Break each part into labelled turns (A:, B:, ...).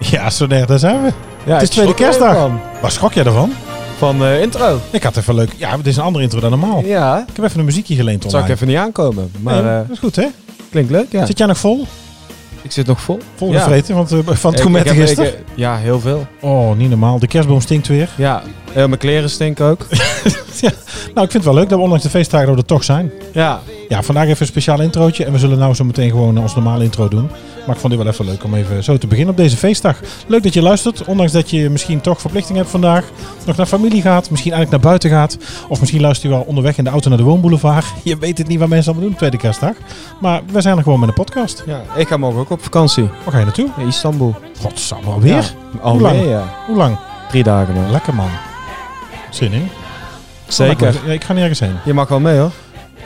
A: Ja, zo erg, daar zijn we.
B: Ja,
A: het is tweede
B: ik schrok er even
A: kerstdag.
B: Van,
A: Waar schrok jij daarvan?
B: van eh, intro.
A: Ik had even leuk. Ja, dit is een andere intro dan normaal.
B: Ja,
A: Oh. Ik heb even een muziekje geleend
B: dat zag ik
A: online.
B: even niet aankomen. Maar
A: Nee,
B: eh,
A: dat is goed, hè?
B: klinkt leuk, ja.
A: Zit jij nog vol?
B: Ik zit nog vol.
A: Vol
B: Ja.
A: gevreten want, eh, van het
B: Ik- ik
A: gourmetten
B: heb-
A: gisteren?
B: ik- ja, heel veel.
A: Oh, niet normaal. De kerstboom stinkt weer.
B: Ja, eh, mijn kleren stinken ook.
A: Nou, ik vind het wel leuk dat we ondanks de feestdagen dat we er toch zijn.
B: ja,
A: Ja, vandaag even een speciaal introotje. En we zullen nou zo meteen gewoon eh, ons normale intro doen. Maar ik vond dit wel even leuk om even zo te beginnen op deze feestdag. Leuk dat je luistert. Ondanks dat je misschien toch verplichting hebt vandaag. Nog naar familie gaat. Misschien eigenlijk naar buiten gaat. Of misschien luister je wel onderweg in de auto naar de woonboulevard. Je weet het niet wat mensen allemaal doen op tweede kerstdag. Maar we zijn er gewoon met een podcast.
B: ja, ik ga morgen ook op vakantie.
A: Waar ga je naartoe?
B: In Istanbul.
A: Godsamme, alweer?
B: Ja, alweer,
A: lang?
B: ja.
A: Hoe lang?
B: Drie dagen nog.
A: Lekker man. Zin in?
B: Zeker.
A: Ja, ik ga nergens heen.
B: Je mag wel mee hoor.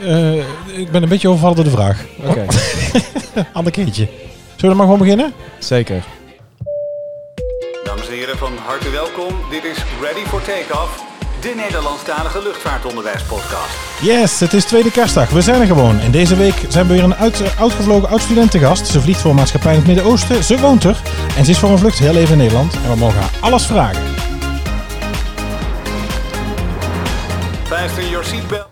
A: Eh, ik ben een beetje overvallen door de vraag.
B: Oké,
A: Ander keertje. Zullen we dan maar gewoon beginnen?
B: zeker.
C: Dames en heren, van harte welkom. Dit is Ready for Takeoff, de Nederlandstalige luchtvaartonderwijspodcast.
A: Yes, het is tweede kerstdag. We zijn er gewoon. En deze week zijn we weer een uit, eh, oudgevlogen oud-studentengast. Ze vliegt voor een maatschappij in het Midden-Oosten. Ze woont er. En ze is voor een vlucht heel even in Nederland. En we mogen haar alles vragen.
C: Fasten your seatbelt.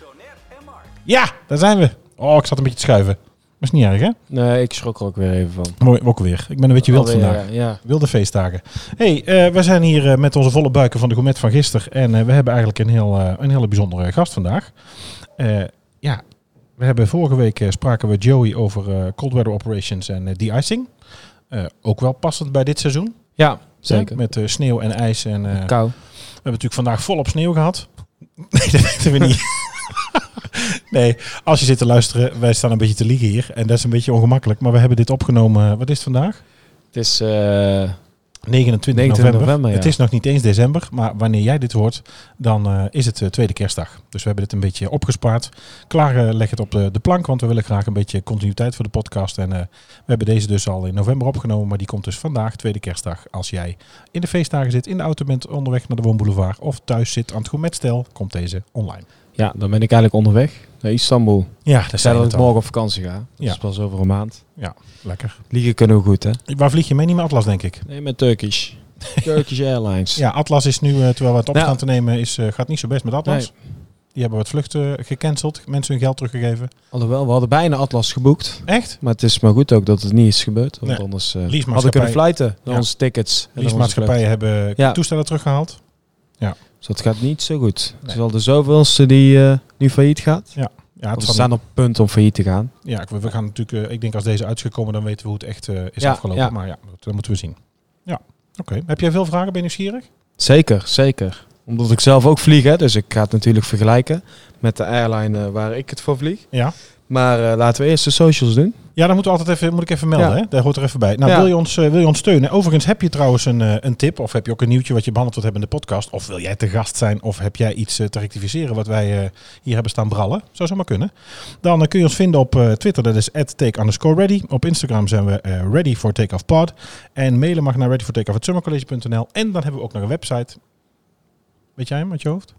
C: Sonet en Mark.
A: Ja, daar zijn we. Oh, ik zat een beetje te schuiven. Maar is niet erg, hè?
B: Nee, ik schrok er ook weer even van.
A: Mooi, ook weer. Ik ben een beetje wild
B: Alweer,
A: vandaag.
B: Ja.
A: Wilde feestdagen. hey, eh, we zijn hier eh, met onze volle buiken van de gourmet van gisteren. En eh, we hebben eigenlijk een, heel, eh, een hele bijzondere gast vandaag. Eh, ja, we hebben vorige week eh, spraken we Joey over eh, cold weather operations en eh, de-icing. Eh, ook wel passend bij dit seizoen.
B: ja,
A: hè,
B: zeker.
A: Met eh, sneeuw en ijs. En, eh, we hebben
B: Kou.
A: natuurlijk vandaag volop sneeuw gehad. Nee, dat weten we niet. nee, als je zit te luisteren, wij staan een beetje te liegen hier. En dat is een beetje ongemakkelijk. Maar we hebben dit opgenomen, eh, wat is het vandaag?
B: Het is... eh,
A: 29
B: 29
A: november.
B: november, ja.
A: Het is nog niet eens december, maar wanneer jij dit hoort, dan eh, is het eh, tweede kerstdag. Dus we hebben dit een beetje opgespaard. Klaar eh, leg het op de, de plank, want we willen graag een beetje continuïteit voor de podcast. En eh, we hebben deze dus al in november opgenomen, maar die komt dus vandaag, tweede kerstdag. Als jij in de feestdagen zit, in de auto bent, onderweg naar de woonboulevard of thuis zit aan het gourmetstel, komt deze online.
B: ja, dan ben ik eigenlijk onderweg naar Istanbul.
A: Ja, daar
B: Ik zei
A: zijn
B: dat
A: we
B: ik
A: al.
B: morgen op vakantie ga. Dat
A: Ja.
B: is pas over een maand.
A: Lekker.
B: Liegen kunnen we goed, hè?
A: Waar vlieg je mee? Niet met Atlas, denk ik.
B: Nee, met Turkish. Turkish Airlines.
A: Ja, Atlas is nu, eh, terwijl we het op
B: Ja.
A: staan te nemen, is, eh, gaat niet zo best met Atlas.
B: Nee,
A: Die hebben wat vluchten eh, gecanceld, mensen hun geld teruggegeven.
B: alhoewel, we hadden bijna Atlas geboekt.
A: Echt?
B: Maar het is maar goed ook dat het niet is gebeurd. Want
A: Nee.
B: anders eh,
A: Leasemaatschappij-
B: hadden we kunnen fluiten naar
A: Ja.
B: onze tickets. en naar onze vlucht.
A: Leasemaatschappijen hebben
B: Ja.
A: toestellen teruggehaald.
B: Dus dat gaat niet zo goed. Het is
A: Nee.
B: wel de zoveelste die eh, nu failliet gaat.
A: Ja,
B: Want
A: het
B: we
A: zal
B: staan op punt om failliet te gaan.
A: niet- ja, we we gaan natuurlijk, eh, ik denk als deze uit is gekomen, dan weten we hoe het echt eh, is
B: Ja,
A: afgelopen.
B: ja.
A: Maar ja, goed, dat moeten we zien. Ja, oké. Heb jij veel vragen? Ben je nieuwsgierig?
B: Zeker, zeker. Omdat ik zelf ook vlieg, hè, dus ik ga het natuurlijk vergelijken met de airline eh, waar ik het voor vlieg.
A: Ja.
B: Maar eh, laten we eerst de socials doen.
A: Ja, dan moeten we altijd even, moet ik even melden.
B: Ja.
A: Hè? Daar hoort er even bij. Nou,
B: Ja.
A: wil, je ons, eh, wil je ons steunen? Overigens, heb je trouwens een, eh, een tip? Of heb je ook een nieuwtje wat je behandeld wordt hebben in de podcast? Of wil jij te gast zijn? Of heb jij iets eh, te rectificeren wat wij eh, hier hebben staan brallen? Zou zomaar kunnen. Dan eh, kun je ons vinden op eh, Twitter. Dat is take ready. Op Instagram zijn we eh, ready for takeoff pod. En mailen mag naar ready for takeoff En dan hebben we ook nog een website. Weet jij hem uit je hoofd?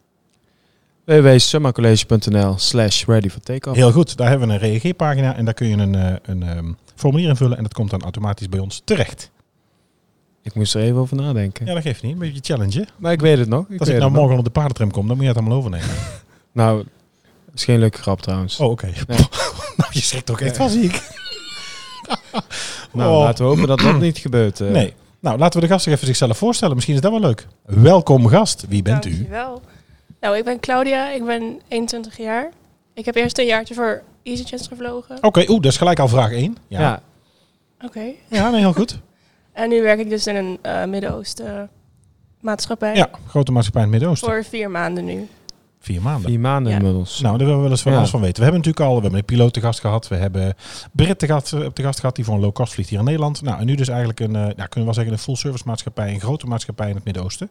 B: www.summercollege.nl slash ready for takeoff.
A: Heel goed. Daar hebben we een reageerpagina. En daar kun je een, eh, een ehm, formulier invullen. En dat komt dan automatisch bij ons terecht.
B: Ik moest er even over nadenken.
A: Ja, dat geeft niet. Een beetje challenge. hè?
B: Maar ik weet het nog.
A: Als ik
B: weet
A: nou
B: het nog.
A: morgen op de paardentram kom, dan moet je het allemaal overnemen.
B: Nou, dat is geen leuke grap trouwens.
A: Oh, oké. nou, je schrikt er ook echt van, zie ik.
B: Nou,
A: Oh.
B: laten we hopen dat dat niet gebeurt. eh.
A: Nee. Nou, laten we de gasten even zichzelf voorstellen. Misschien is dat wel leuk. Welkom gast. Wie bent u?
D: Dankjewel. Nou, ik ben Claudia, ik ben 21 jaar. Ik heb eerst een jaartje voor EasyJet gevlogen.
A: Oké, oeh, dat is gelijk al vraag 1.
B: Ja.
A: Ja, ja.
D: Oké.
A: nee, heel goed.
D: En nu werk ik dus in een eh, Midden-Oosten maatschappij.
A: Ja, grote maatschappij in het Midden-Oosten.
D: Voor vier maanden nu.
A: Vier maanden.
B: vier maanden
D: Ja.
B: inmiddels.
A: Nou, daar willen we wel eens van
B: Ja.
A: alles van weten. We hebben natuurlijk al, we hebben een piloot te gast gehad. We hebben Brit te gast, op de gast gehad die voor een low-cost vliegt hier in Nederland. Nou, en nu dus eigenlijk een, eh, ja, kunnen we wel zeggen, een full-service maatschappij. Een grote maatschappij in het Midden-Oosten.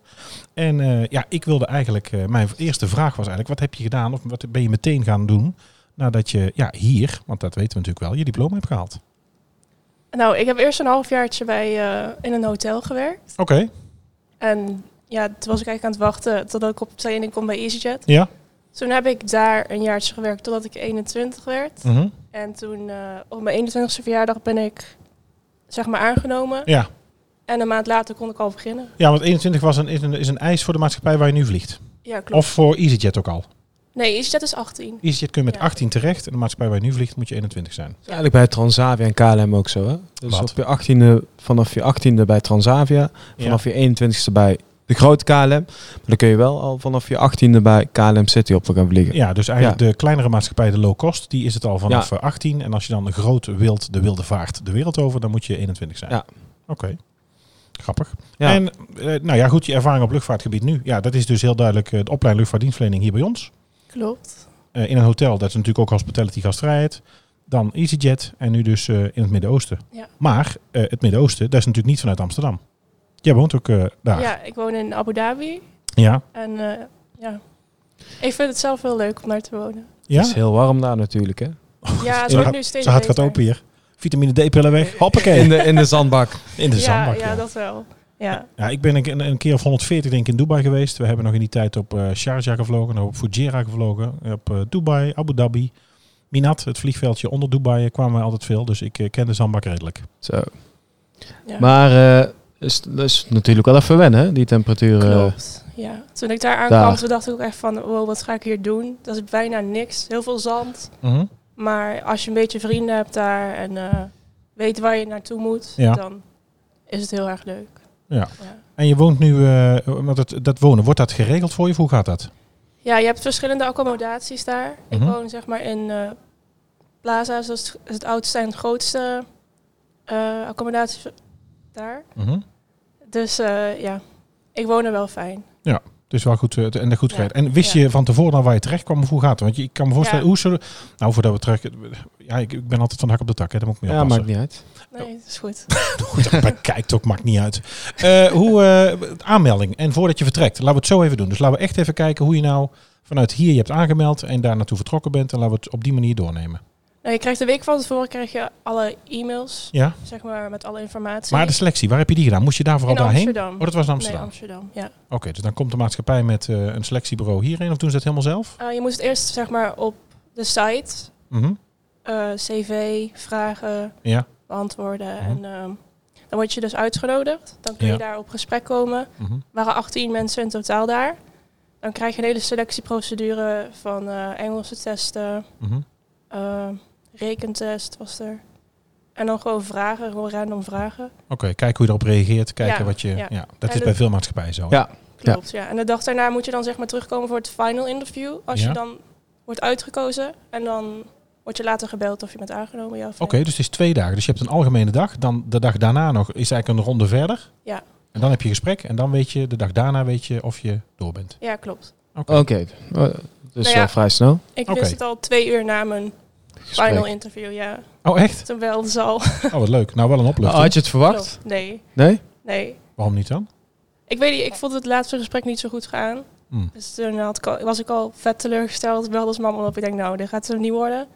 A: En eh, ja, ik wilde eigenlijk, eh, mijn eerste vraag was eigenlijk, wat heb je gedaan of wat ben je meteen gaan doen nadat je ja, hier, want dat weten we natuurlijk wel, je diploma hebt gehaald.
D: Nou, ik heb eerst een halfjaartje bij, eh, in een hotel gewerkt.
A: Oké,
D: En ja, toen was ik eigenlijk aan het wachten totdat ik op training kon bij EasyJet.
A: ja.
D: Toen heb ik daar een jaartje gewerkt totdat ik 21 werd.
A: Mhm.
D: En toen eh, op mijn 21ste verjaardag ben ik zeg maar aangenomen.
A: Ja,
D: En een maand later kon ik al beginnen.
A: Ja, want 21 was een, is, een, is een eis voor de maatschappij waar je nu vliegt.
D: Ja, klopt.
A: Of voor EasyJet ook al.
D: Nee, EasyJet is 18.
A: EasyJet kun je met
D: Ja.
A: 18 terecht en de maatschappij waar je nu vliegt moet je 21 zijn.
B: is eigenlijk bij Transavia en KLM ook zo. Hè? Dus
A: Wat?
B: op je 18e, vanaf je 18e bij Transavia, vanaf je 21ste bij de grote KLM. Maar dan kun je wel al vanaf je 18e bij KLM City op te gaan vliegen.
A: Ja, dus eigenlijk de kleinere maatschappij, de low cost, die is het al vanaf eh, 18. En als je dan groot wilt, de wilde vaart de wereld over, dan moet je 21 zijn.
B: Ja.
A: Oké. Grappig.
B: Ja.
A: En eh, nou ja, goed, je ervaring op luchtvaartgebied nu. Ja, dat is dus heel duidelijk eh, de opleiding luchtvaartdienstverlening hier bij ons.
D: Klopt.
A: Eh, in een hotel, dat is natuurlijk ook hospitality gastvrijheid. Dan EasyJet en nu dus eh, in het Midden-Oosten.
D: Ja.
A: Maar eh, het Midden-Oosten, dat is natuurlijk niet vanuit Amsterdam. Jij woont ook eh, daar.
D: Ja, ik woon in Abu Dhabi.
A: Ja.
D: En eh, ja, ik vind het zelf heel leuk om daar te wonen.
A: Ja?
B: Het is heel warm daar natuurlijk. Hè?
D: Ja, het
A: Zo
D: wordt
A: Oh, gaat-
D: nu steeds
A: Zo hard gaat
D: beter.
A: open hier. Vitamine D-pillen weg. Hoppakee.
B: In, de, in de zandbak.
A: In de
D: ja,
A: zandbak.
D: ja,
A: ja.
D: dat wel. Ja,
A: Ja, ik ben een, een keer of 140 denk ik in Dubai geweest. We hebben nog in die tijd op eh Sharjah gevlogen, nog op Fujairah gevlogen, op eh, Dubai, Abu Dhabi, Minat, het vliegveldje onder Dubai, eh, kwamen wij altijd veel. Dus ik eh, ken de zandbak redelijk.
B: Zo.
D: Ja.
B: Maar eh, is, is natuurlijk wel even wennen, hè, die
A: eh,
B: temperaturen.
D: klopt. Ja. Toen ik daar aankwam,
B: Daar.
D: toen dacht ik ook echt van, wow, wat ga ik hier doen? Dat is bijna niks. Heel veel zand. Maar als je een beetje vrienden hebt daar en eh, weet waar je naartoe moet,
A: Ja.
D: dan is het heel erg leuk.
A: Ja.
D: Ja.
A: En je woont nu, eh, want het, dat wonen, wordt dat geregeld voor je? Of Hoe gaat dat?
D: Ja, je hebt verschillende accommodaties daar.
A: Mhm.
D: Ik woon zeg maar in eh, Plaza's, dat is het- is het oudste en het grootste eh, accommodatie daar.
A: Mhm.
D: Dus eh, ja, ik woon er wel fijn.
A: Dus wel goed eh, en goed
D: Ja.
A: geregeld. En wist
D: Ja.
A: je van tevoren al waar je terecht kwam of hoe gaat het? Want je, ik kan me voorstellen,
D: Ja.
A: hoe zullen... Nou, voordat we terug... Ja, ik, ik ben altijd van de hak op de tak, hè. Daar moet ik mee
B: Ja,
A: oppassen.
B: maakt niet uit.
D: Nee, dat is goed.
A: Goed, dat bekijkt ook, maakt niet uit. Eh, hoe, eh, aanmelding en voordat je vertrekt. Laten we het zo even doen. Dus laten we echt even kijken hoe je nou vanuit hier je hebt aangemeld en daar naartoe vertrokken bent. En laten we het op die manier doornemen.
D: Nou, je krijgt de week van tevoren krijg je alle e-mails,
A: Ja?
D: zeg maar, met alle informatie.
A: Maar de selectie, waar heb je die gedaan? Moest je daar vooral
D: in
A: daarheen?
D: Amsterdam.
A: Oh, dat was in Amsterdam.
D: Nee, Amsterdam, ja.
A: Oké, dus dan komt de maatschappij met eh, een selectiebureau hierheen of doen ze dat helemaal zelf?
D: Eh, je moest eerst zeg maar op de site
A: Mhm.
D: eh, cv, vragen
A: Ja.
D: beantwoorden.
A: Mhm.
D: En ehm, dan word je dus uitgenodigd. Dan kun je
A: Ja.
D: daar op gesprek komen.
A: Mhm.
D: Er waren 18 mensen in totaal daar. Dan krijg je een hele selectieprocedure van eh, Engelse testen,
A: Mhm.
D: eh, rekentest was er. En dan gewoon vragen, gewoon random vragen.
A: Oké, kijken hoe je erop reageert. Kijken
D: Ja,
A: wat je. Ja,
D: ja.
A: dat
D: En
A: is
D: de-
A: bij veel maatschappijen zo.
B: Ja.
D: Klopt, ja. En de dag daarna moet je dan zeg maar terugkomen voor het final interview. Als
A: Ja.
D: je dan wordt uitgekozen en dan word je later gebeld of je bent aangenomen. Ja of
A: Oké,
D: nee.
A: dus het is twee dagen. Dus je hebt een algemene dag. Dan de dag daarna nog is eigenlijk een ronde verder.
D: Ja.
A: En dan heb je gesprek. En dan weet je, de dag daarna weet je of je door bent.
D: Ja, klopt.
B: Oké, eh, dus
D: Nou ja.
B: wel vrij snel.
D: Ik
A: Oké.
D: wist het al twee uur na mijn
B: Gesprek.
D: final interview, ja.
A: Oh, echt?
D: Toen belden ze al.
A: Oh, wat leuk. Nou, wel een
B: Oh,
A: opluchting.
B: had je het verwacht?
D: Klopt. Nee,
B: Nee?
D: nee.
A: Waarom niet dan?
D: Ik weet niet, ik vond het laatste gesprek niet zo goed gaan.
A: Hmm.
D: Dus toen had ik al, was ik al vet teleurgesteld. Belde ze mama op. Ik denk, nou, dit gaat het niet worden.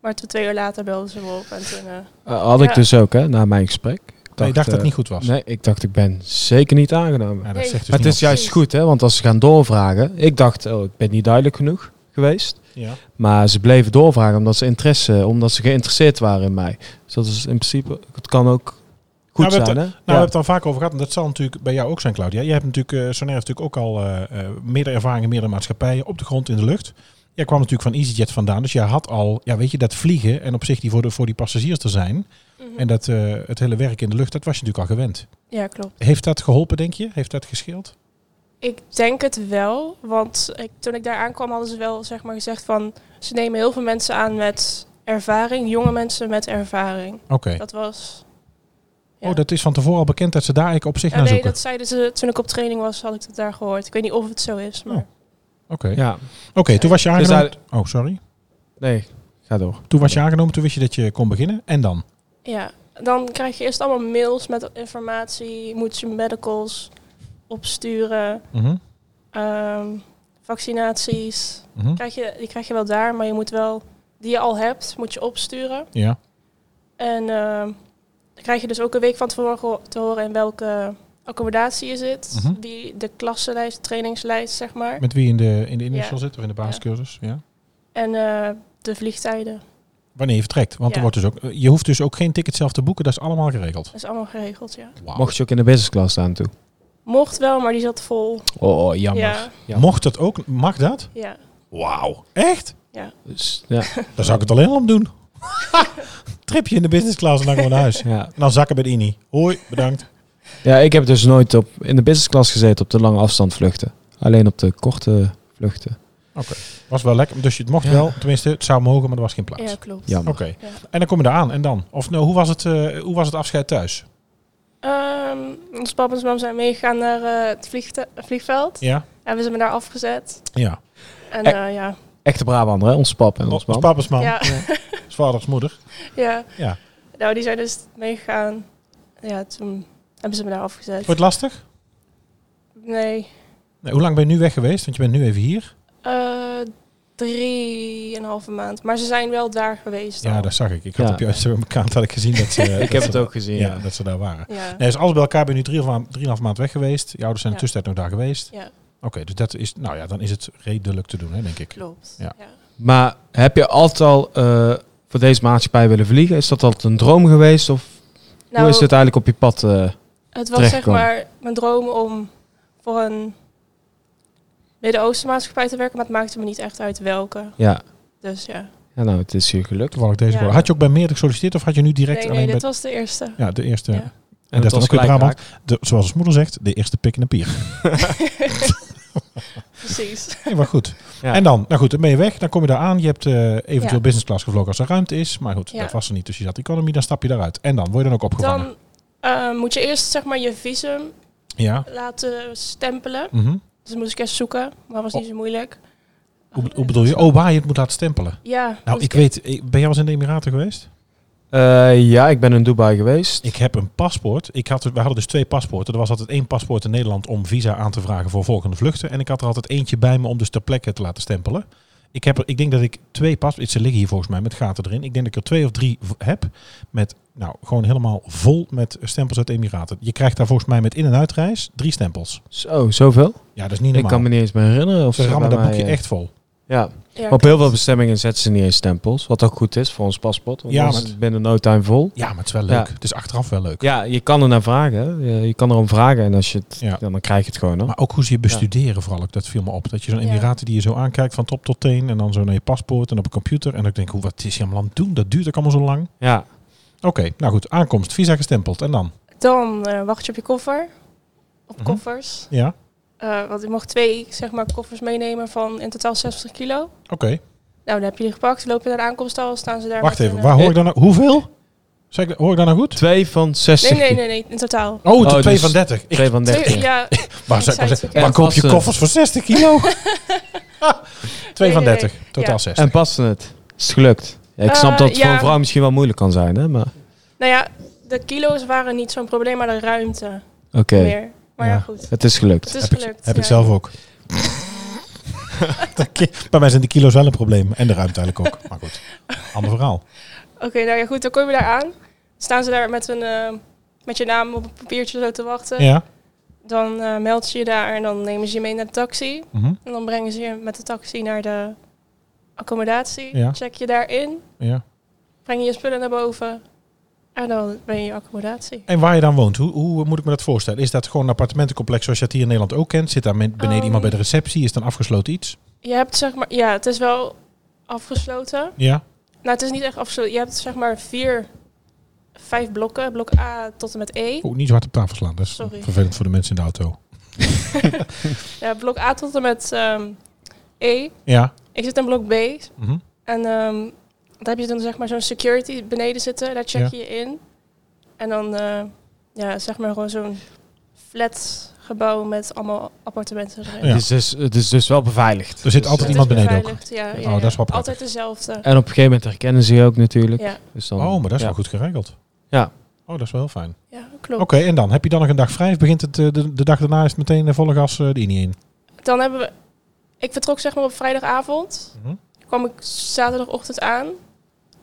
D: Maar toen twee uur later belden ze me op. En toen, eh,
B: Eh, had ik
D: Ja.
B: dus ook, hè, na mijn gesprek. Ik
A: Nee, je dacht dat
B: eh,
A: het niet goed was.
B: Nee, ik dacht ik ben zeker niet aangenomen.
A: Ja, dat
D: Nee.
A: zegt dus
B: maar het is
A: niemand.
B: juist goed, hè, want als ze gaan doorvragen. Ik dacht, oh, ik ben niet duidelijk genoeg geweest.
A: Ja. Nou,
B: Maar ze bleven doorvragen omdat ze, interesse, omdat ze geïnteresseerd waren in mij. Dus dat is in principe, het kan ook goed
A: Nou, we hebben
B: zijn. Hè?
A: Nou, we
B: Ja.
A: hebben het al vaak over gehad. En dat zal natuurlijk bij jou ook zijn, Claudia. Jij hebt natuurlijk, eh Sonair heeft natuurlijk ook al eh, eh, meerdere ervaringen, meerdere maatschappijen op de grond, in de lucht. Jij kwam natuurlijk van EasyJet vandaan. Dus jij had al, ja, weet je, dat vliegen en op zich die voor, de, voor die passagiers te zijn.
D: mhm.
A: En dat, eh, het hele werk in de lucht, dat was je natuurlijk al gewend.
D: Ja, klopt.
A: Heeft dat geholpen, denk je? Heeft dat gescheeld?
D: Ik denk het wel. Want ik, toen ik daar aankwam hadden ze wel zeg maar, gezegd van... Ze nemen heel veel mensen aan met ervaring. Jonge mensen met ervaring.
A: Oké.
D: Dat was... ja.
A: Oh, dat is van tevoren al bekend dat ze daar eigenlijk op zich
D: Ja,
A: naar
D: nee,
A: zoeken.
D: dat zeiden ze toen ik op training was, had ik het daar gehoord. Ik weet niet of het zo is, maar...
A: Oh. Oké,
B: ja.
A: Oké, toen was je
B: Dus
A: aangenomen.
B: daar,
A: Oh, sorry.
B: nee, ga door.
A: Toen was je aangenomen, toen wist je dat je kon beginnen. En dan?
D: Ja, dan krijg je eerst allemaal mails met informatie. Moet je medicals opsturen,
A: Mhm,
D: ehm, vaccinaties.
A: mhm.
D: Krijg je, die krijg je wel daar, maar je moet wel die je al hebt, moet je opsturen.
A: Ja,
D: En ehm, dan krijg je dus ook een week van tevoren geho- te horen in welke accommodatie je zit.
A: Mhm.
D: die, de klassenlijst, trainingslijst, zeg maar.
A: met wie in de, in de initial
D: Ja.
A: zit of in de basiscursus. Ja.
D: En eh, de vliegtijden.
A: Wanneer je vertrekt. Want er
D: Ja.
A: wordt dus ook, je hoeft dus ook geen ticket zelf te boeken. Dat is allemaal geregeld.
D: Dat is allemaal geregeld, ja.
B: Mocht je ook in de business class staan toe?
D: Mocht wel, maar die zat vol.
B: Oh, oh, jammer.
D: Ja,
B: Ja.
A: Mocht dat ook, mag dat?
D: ja.
A: Wauw. Echt?
B: Dus, ja,
A: Dan zou ik het alleen al om doen. Tripje in de business class en dan gewoon naar huis.
B: ja.
A: En dan zakken bij de INI. Hoi, bedankt.
B: ja, ik heb dus nooit op, in de business class gezeten op de lange afstand vluchten. Alleen op de korte vluchten.
A: Was wel lekker. Dus je het mocht
B: Ja.
A: wel. Tenminste, het zou mogen, maar er was geen plaats.
D: ja klopt.
B: Jammer.
A: Oké.
D: Ja.
A: En dan kom je daar aan en dan? Of nou, hoe was het, eh, hoe was het afscheid thuis?
D: Ehm, ons papa en mam zijn meegegaan naar eh, het vliegte- vliegveld.
A: Ja?
D: Hebben ze me daar afgezet.
A: Ja.
D: En
B: Eh,
D: eh, ja.
B: Echte Brabander, hè? Ons pap en ons
A: Ons
B: man.
A: papa's man,
D: Ja,
A: ons vaders moeder.
D: ja.
A: Ja.
D: Nou, die zijn dus meegegaan. Ja, toen hebben ze me daar afgezet.
A: Wordt lastig?
D: Nee.
A: Nee, hoe lang ben je nu weg geweest? Want je bent nu even hier.
D: Eh Drieënhalve maand. Maar ze zijn wel daar geweest.
A: Ja,
D: al.
A: dat zag ik. Ik had
B: Ja.
A: op je Instagram-account had ik gezien dat ze...
B: Ik heb het ook gezien,
A: Ja,
B: ja.
A: dat ze daar waren.
D: Ja.
A: Nee, dus alles bij elkaar ben je nu drieënhalf maand- drieënhalf maand weg geweest. Je ouders zijn in de
D: Ja.
A: tussentijd nog daar geweest.
D: Ja.
A: Oké, dus dat is... Nou ja, dan is het redelijk te doen, hè, denk ik.
D: Klopt.
A: Ja.
B: Maar heb je altijd al eh, voor deze maatschappij willen vliegen? Is dat altijd een droom geweest? Of
D: Nou,
B: hoe is dit eigenlijk op je pad? eh?
D: het was zeg
B: terechtgekomen?
D: maar mijn droom om voor een Midden-Oosten maatschappij te werken, maar het maakte me niet echt uit welke.
B: ja.
D: Dus ja.
B: ja, nou, het is je gelukt.
A: Toevallig deze
D: Ja.
A: woorden. Had je ook bij meerdere gesolliciteerd of had je nu direct
D: Nee,
A: alleen
D: nee, dit
A: bij...
D: was de eerste.
A: Ja, de eerste...
D: Ja.
A: En dat
B: was
A: was ook in
B: gelijk
A: Brabant. De, zoals ons moeder zegt, de eerste pik in de pier.
D: Precies.
A: Nee, maar goed.
B: Ja.
A: En dan, nou goed, dan ben je weg. Dan kom je daar aan. Je hebt eh, eventueel
D: Ja.
A: business class gevlogen als er ruimte is. Maar goed,
D: Ja.
A: dat was er niet. Dus je zat economy, dan stap je daaruit. En dan word je dan ook opgevangen.
D: Dan eh, moet je eerst zeg maar je visum
A: Ja.
D: laten stempelen.
A: Mhm.
D: Dus dat moest ik eerst zoeken, maar was niet zo moeilijk. Eh,
A: Hoe, hoe bedoel je? Oh, waar je het moet laten stempelen.
D: Ja. dus-
A: Nou,
D: moest
A: ik weet, ik- ben jij wel eens in de Emiraten geweest?
B: Eh, ja, ik ben in Dubai geweest.
A: Ik heb een paspoort. Ik had, we hadden dus twee paspoorten. Er was altijd één paspoort in Nederland om visa aan te vragen voor volgende vluchten. En ik had er altijd eentje bij me om dus ter plekke te laten stempelen. Ik, heb er, ik denk dat ik twee paspoorten, ze liggen hier volgens mij met gaten erin. Ik denk dat ik er twee of drie v- heb met, nou, gewoon helemaal vol met stempels uit de Emiraten. Je krijgt daar volgens mij met in- en uitreis drie stempels.
B: Zo, zoveel?
A: Ja, dat is niet
B: Ik
A: normaal.
B: kan me niet eens meer herinneren. Of
A: ze
B: ze
A: rammen
B: bij
A: dat
B: mij,
A: boekje
B: eh,
A: echt vol.
B: Ja,
D: Ja,
B: Maar op heel veel bestemmingen zetten ze niet eens stempels. Wat ook goed is voor ons paspoort. Want
A: Ja,
B: ja, is
A: maar-
B: het binnen no time vol.
A: Ja, maar het is wel leuk.
B: Ja.
A: Het is achteraf wel leuk.
B: Ja, je kan er naar vragen. hè. Je, je kan erom vragen. En als je het,
A: Ja.
B: ja. dan krijg je het gewoon. Hoor.
A: Maar ook hoe ze je bestuderen vooral ook, dat viel me op. Dat je zo'n
D: Ja.
A: Emiraten die je zo aankijkt van top tot teen en dan zo naar je paspoort en op een computer. En dan denk ik, hoe, wat is hij allemaal aan het doen? Dat duurt ook allemaal zo lang.
B: ja.
A: Oké, nou goed, aankomst, visa gestempeld en dan?
D: Dan eh, wacht je op je koffer. Op
A: Mhm.
D: koffers.
A: Ja,
D: Eh, want ik mocht twee zeg maar, koffers meenemen van in totaal 60 kilo.
A: oké.
D: Nou, dan heb je die gepakt. Loop je naar de aankomsthal, staan ze daar.
A: Wacht
D: met een,
A: even,
D: eh,
A: waar hoor ik dan nou? Hoeveel? Zeg ik, hoor ik dan nou goed?
B: Twee van 60.
D: Nee, nee, nee, nee, in totaal.
A: Oh,
B: Oh,
A: de
B: dus
A: 32. Ik,
B: Twee van 30.
D: Twee- ja,
A: waar,
D: ik
A: zou ik
D: zei
A: nou
D: het
A: zeggen,
D: verkeerd.
A: waar koop je
B: Passen.
A: koffers voor 60 kilo? 2 van
D: nee,
A: 30, totaal
D: Ja.
A: 60.
B: En paste het? Is het gelukt? Ja, ik snap
D: Eh,
B: dat het voor
D: ja.
B: een vrouw misschien wel moeilijk kan zijn. Hè? Maar
D: nou ja, de kilo's waren niet zo'n probleem, maar de ruimte
B: oké,
D: meer. Maar ja,
A: Ja.
D: goed.
B: het is gelukt.
D: Het is
A: heb ik,
D: Dus gelukt.
A: heb ik
D: ja.
A: zelf ook. Dat ki- Bij mij zijn de kilo's wel een probleem en de ruimte eigenlijk ook. Maar goed, ander verhaal.
D: Oké, nou ja, goed. Dan kom je daar aan. Staan ze daar met, een, eh, met je naam op een papiertje zo te wachten.
A: Ja.
D: Dan eh, meld je je daar en dan nemen ze je mee naar de taxi.
A: mhm,
D: En dan brengen ze je met de taxi naar de accommodatie.
A: Ja.
D: Check je daarin.
A: ja.
D: Breng je je spullen naar boven. En dan ben je in je accommodatie.
A: En waar je dan woont, hoe, hoe moet ik me dat voorstellen? Is dat gewoon een appartementencomplex zoals je dat hier in Nederland ook kent? Zit daar men- beneden
D: Ehm.
A: iemand bij de receptie? Is dan afgesloten iets?
D: Je hebt zeg maar, ja, het is wel afgesloten.
A: Ja.
D: Nou, het is niet echt afgesloten. Je hebt zeg maar vier, vijf blokken. Blok A tot en met E.
A: Oh, niet zo hard op tafel slaan, dat is
D: Sorry.
A: vervelend voor de mensen in de auto.
D: Ja, blok A tot en met ehm, E.
A: Ja.
D: Ik zit in blok B.
A: mhm.
D: En ehm, daar heb je dan zeg maar zo'n security beneden zitten. Daar check je je in. En dan eh, ja, zeg maar gewoon zo'n flat gebouw met allemaal appartementen erin.
A: Ja.
B: Het, is dus, het is dus wel beveiligd.
A: Er zit
B: Dus,
A: altijd
B: eh,
A: iemand
D: Het is
A: beneden ook.
D: beveiligd, Ja, ja,
A: Oh, dat is wel
D: ja.
A: prettig.
D: Altijd dezelfde.
B: En op een gegeven moment herkennen ze je ook natuurlijk.
D: Ja,
B: Dus dan,
A: Oh, maar dat is
B: ja.
A: wel goed geregeld.
B: Ja.
A: Oh, dat is wel heel fijn.
D: ja
A: Oké,
D: klopt.
A: en dan? Heb je dan nog een dag vrij? Of begint het eh, de, de dag daarna is het meteen eh, volle gas eh, de Unie in?
D: Dan hebben we... Ik vertrok zeg maar op vrijdagavond.
A: Mhm.
D: kwam ik zaterdagochtend aan.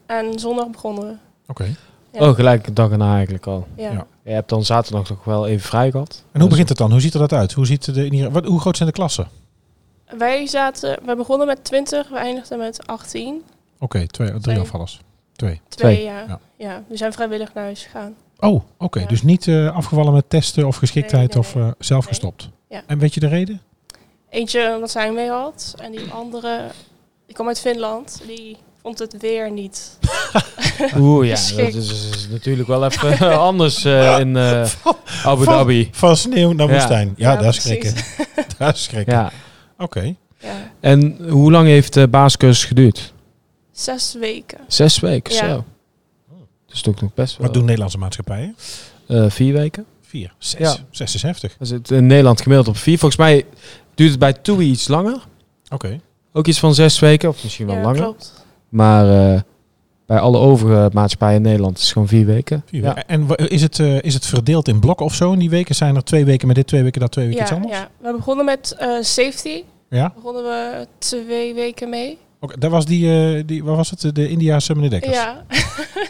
D: En zondag begonnen we.
A: Oké.
D: Ja.
B: Oh, gelijk de dag erna eigenlijk al.
D: Ja.
A: Ja.
B: Je hebt dan zaterdag toch wel even vrij gehad.
A: En hoe begint het dan? Hoe ziet er dat uit? Hoe, ziet de, Unie- wat, hoe groot zijn de klassen?
D: Wij zaten... We begonnen met 20, we eindigden met 18.
A: Oké, twee, drie
D: Twee.
A: afvallers. Twee.
D: Twee,
B: Twee,
D: ja.
A: ja.
D: ja. Die zijn vrijwillig naar huis gegaan.
A: Oh, oké.
D: Ja.
A: Dus niet eh, afgevallen met testen of geschiktheid
D: Nee, nee,
A: of eh, zelf
D: Nee.
A: gestopt.
D: Ja.
A: En weet je de reden?
D: Eentje omdat zij mee had. En die andere, die kwam uit Finland. Die vond het weer niet.
B: Oeh, ja,
D: Geschikt.
B: dat is, is natuurlijk wel even anders eh, in eh, Abu
A: van-
B: Dhabi.
A: Van sneeuw naar
B: Ja.
A: woestijn. Ja, daar
D: precies.
A: schrikken. daar schrikken.
B: Ja.
A: Oké.
D: Ja.
B: En hoe lang heeft de basiscursus geduurd?
D: Zes weken.
B: Zes weken,
D: Ja.
B: zo. Dus toch nog best wel.
A: Wat Oh. doen Nederlandse maatschappijen?
B: Eh, vier weken.
A: Vier. Zes.
B: Ja.
A: Zes is heftig.
B: Dat zit in Nederland gemiddeld op vier. Volgens mij duurt het bij TUI iets langer.
A: Oké.
B: Ook iets van zes weken, of misschien wel
D: ja,
B: langer.
D: klopt.
B: Maar eh, bij alle overige maatschappijen in Nederland is het gewoon vier weken.
A: Vier
B: Ja.
A: weken. En wa- is het, eh, is het verdeeld in blokken of zo in die weken? Zijn er twee weken met dit, twee weken dat, twee weken iets
D: Ja,
A: anders?
D: ja. We begonnen met eh, safety.
A: Ja?
D: Begonnen we twee weken mee.
A: Oké, daar was die, eh, die, waar was het? De Indiaanse meneer Dekkers.
D: Ja.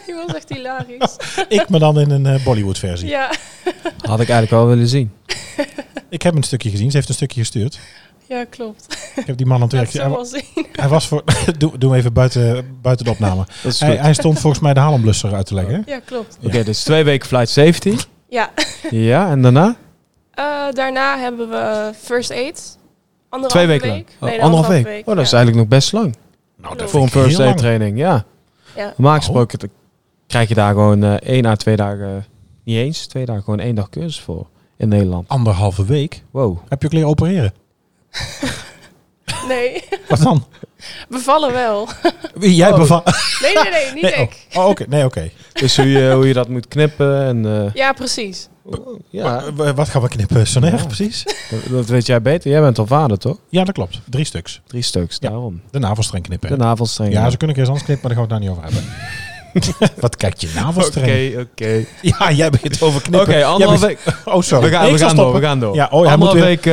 D: die was echt hilarisch.
A: Ik me dan in een eh, Bollywood versie.
D: ja.
B: Had ik eigenlijk wel willen zien.
A: Ik heb een stukje gezien. Ze heeft een stukje gestuurd.
D: ja, klopt.
A: Ik heb die man aan het
D: Dat
A: werk
D: is hem
A: gezien.
D: wel zien.
A: Hij, hij was voor... doe, doe hem even buiten, buiten de opname.
B: Dat is goed.
A: Hij, hij stond volgens mij de Halenblusser uit te leggen. hè?
D: Ja, klopt.
B: Oké, dus twee weken flight safety.
D: Ja.
B: ja, en daarna?
D: Eh, daarna hebben we eh, first aid.
B: twee
D: Anderhalve
B: weken lang.
D: week. Nee,
B: Oh,
D: de
B: anderhalf week.
D: week.
B: Oh, dat is
D: ja.
B: eigenlijk nog best lang.
A: Nou,
D: Klopt.
A: dat
B: voor een
A: vind ik
B: first
A: heel
B: aid
A: lang.
B: training, ja.
D: Ja.
B: Normaal
A: Oh.
B: gesproken dan krijg je daar gewoon eh één à twee dagen, niet eens, twee dagen, gewoon één dag cursus voor in Nederland.
A: Anderhalve week.
B: Wow.
A: Heb je ook leren opereren?
D: Nee,
A: Wat dan?
D: bevallen wel.
A: Wie jij
B: Oh.
A: beva-
D: Nee, nee, nee, niet
A: Nee,
D: ik.
A: Oh, oké. Nee, oké.
B: Dus hoe je, hoe je dat moet knippen en eh,
D: Ja, precies.
B: ja,
A: Eh, w- Wat gaan we knippen, Soner, precies?
B: dat, dat weet jij beter. Jij bent al vader, toch?
A: Ja, dat klopt. Drie stuks.
B: Drie stuks,
A: Ja.
B: daarom.
A: De navelstreng knippen.
B: De navelstreng.
A: ja, ze kunnen keer eens anders knippen, maar daar gaan we het daar niet over hebben. Wat kijkt je
B: Oké,
A: navelstreng?
B: oké.
A: Ja, jij begint over
B: Oké,
A: knippen. Jij
B: anderhalf
A: begint-
B: week.
A: Oh, sorry.
B: We gaan,
A: Ik
B: we
A: zal
B: gaan door, we
A: stoppen.
B: gaan door.
A: Ja, oh, hij moet
B: Anderhalf
A: weer...
B: week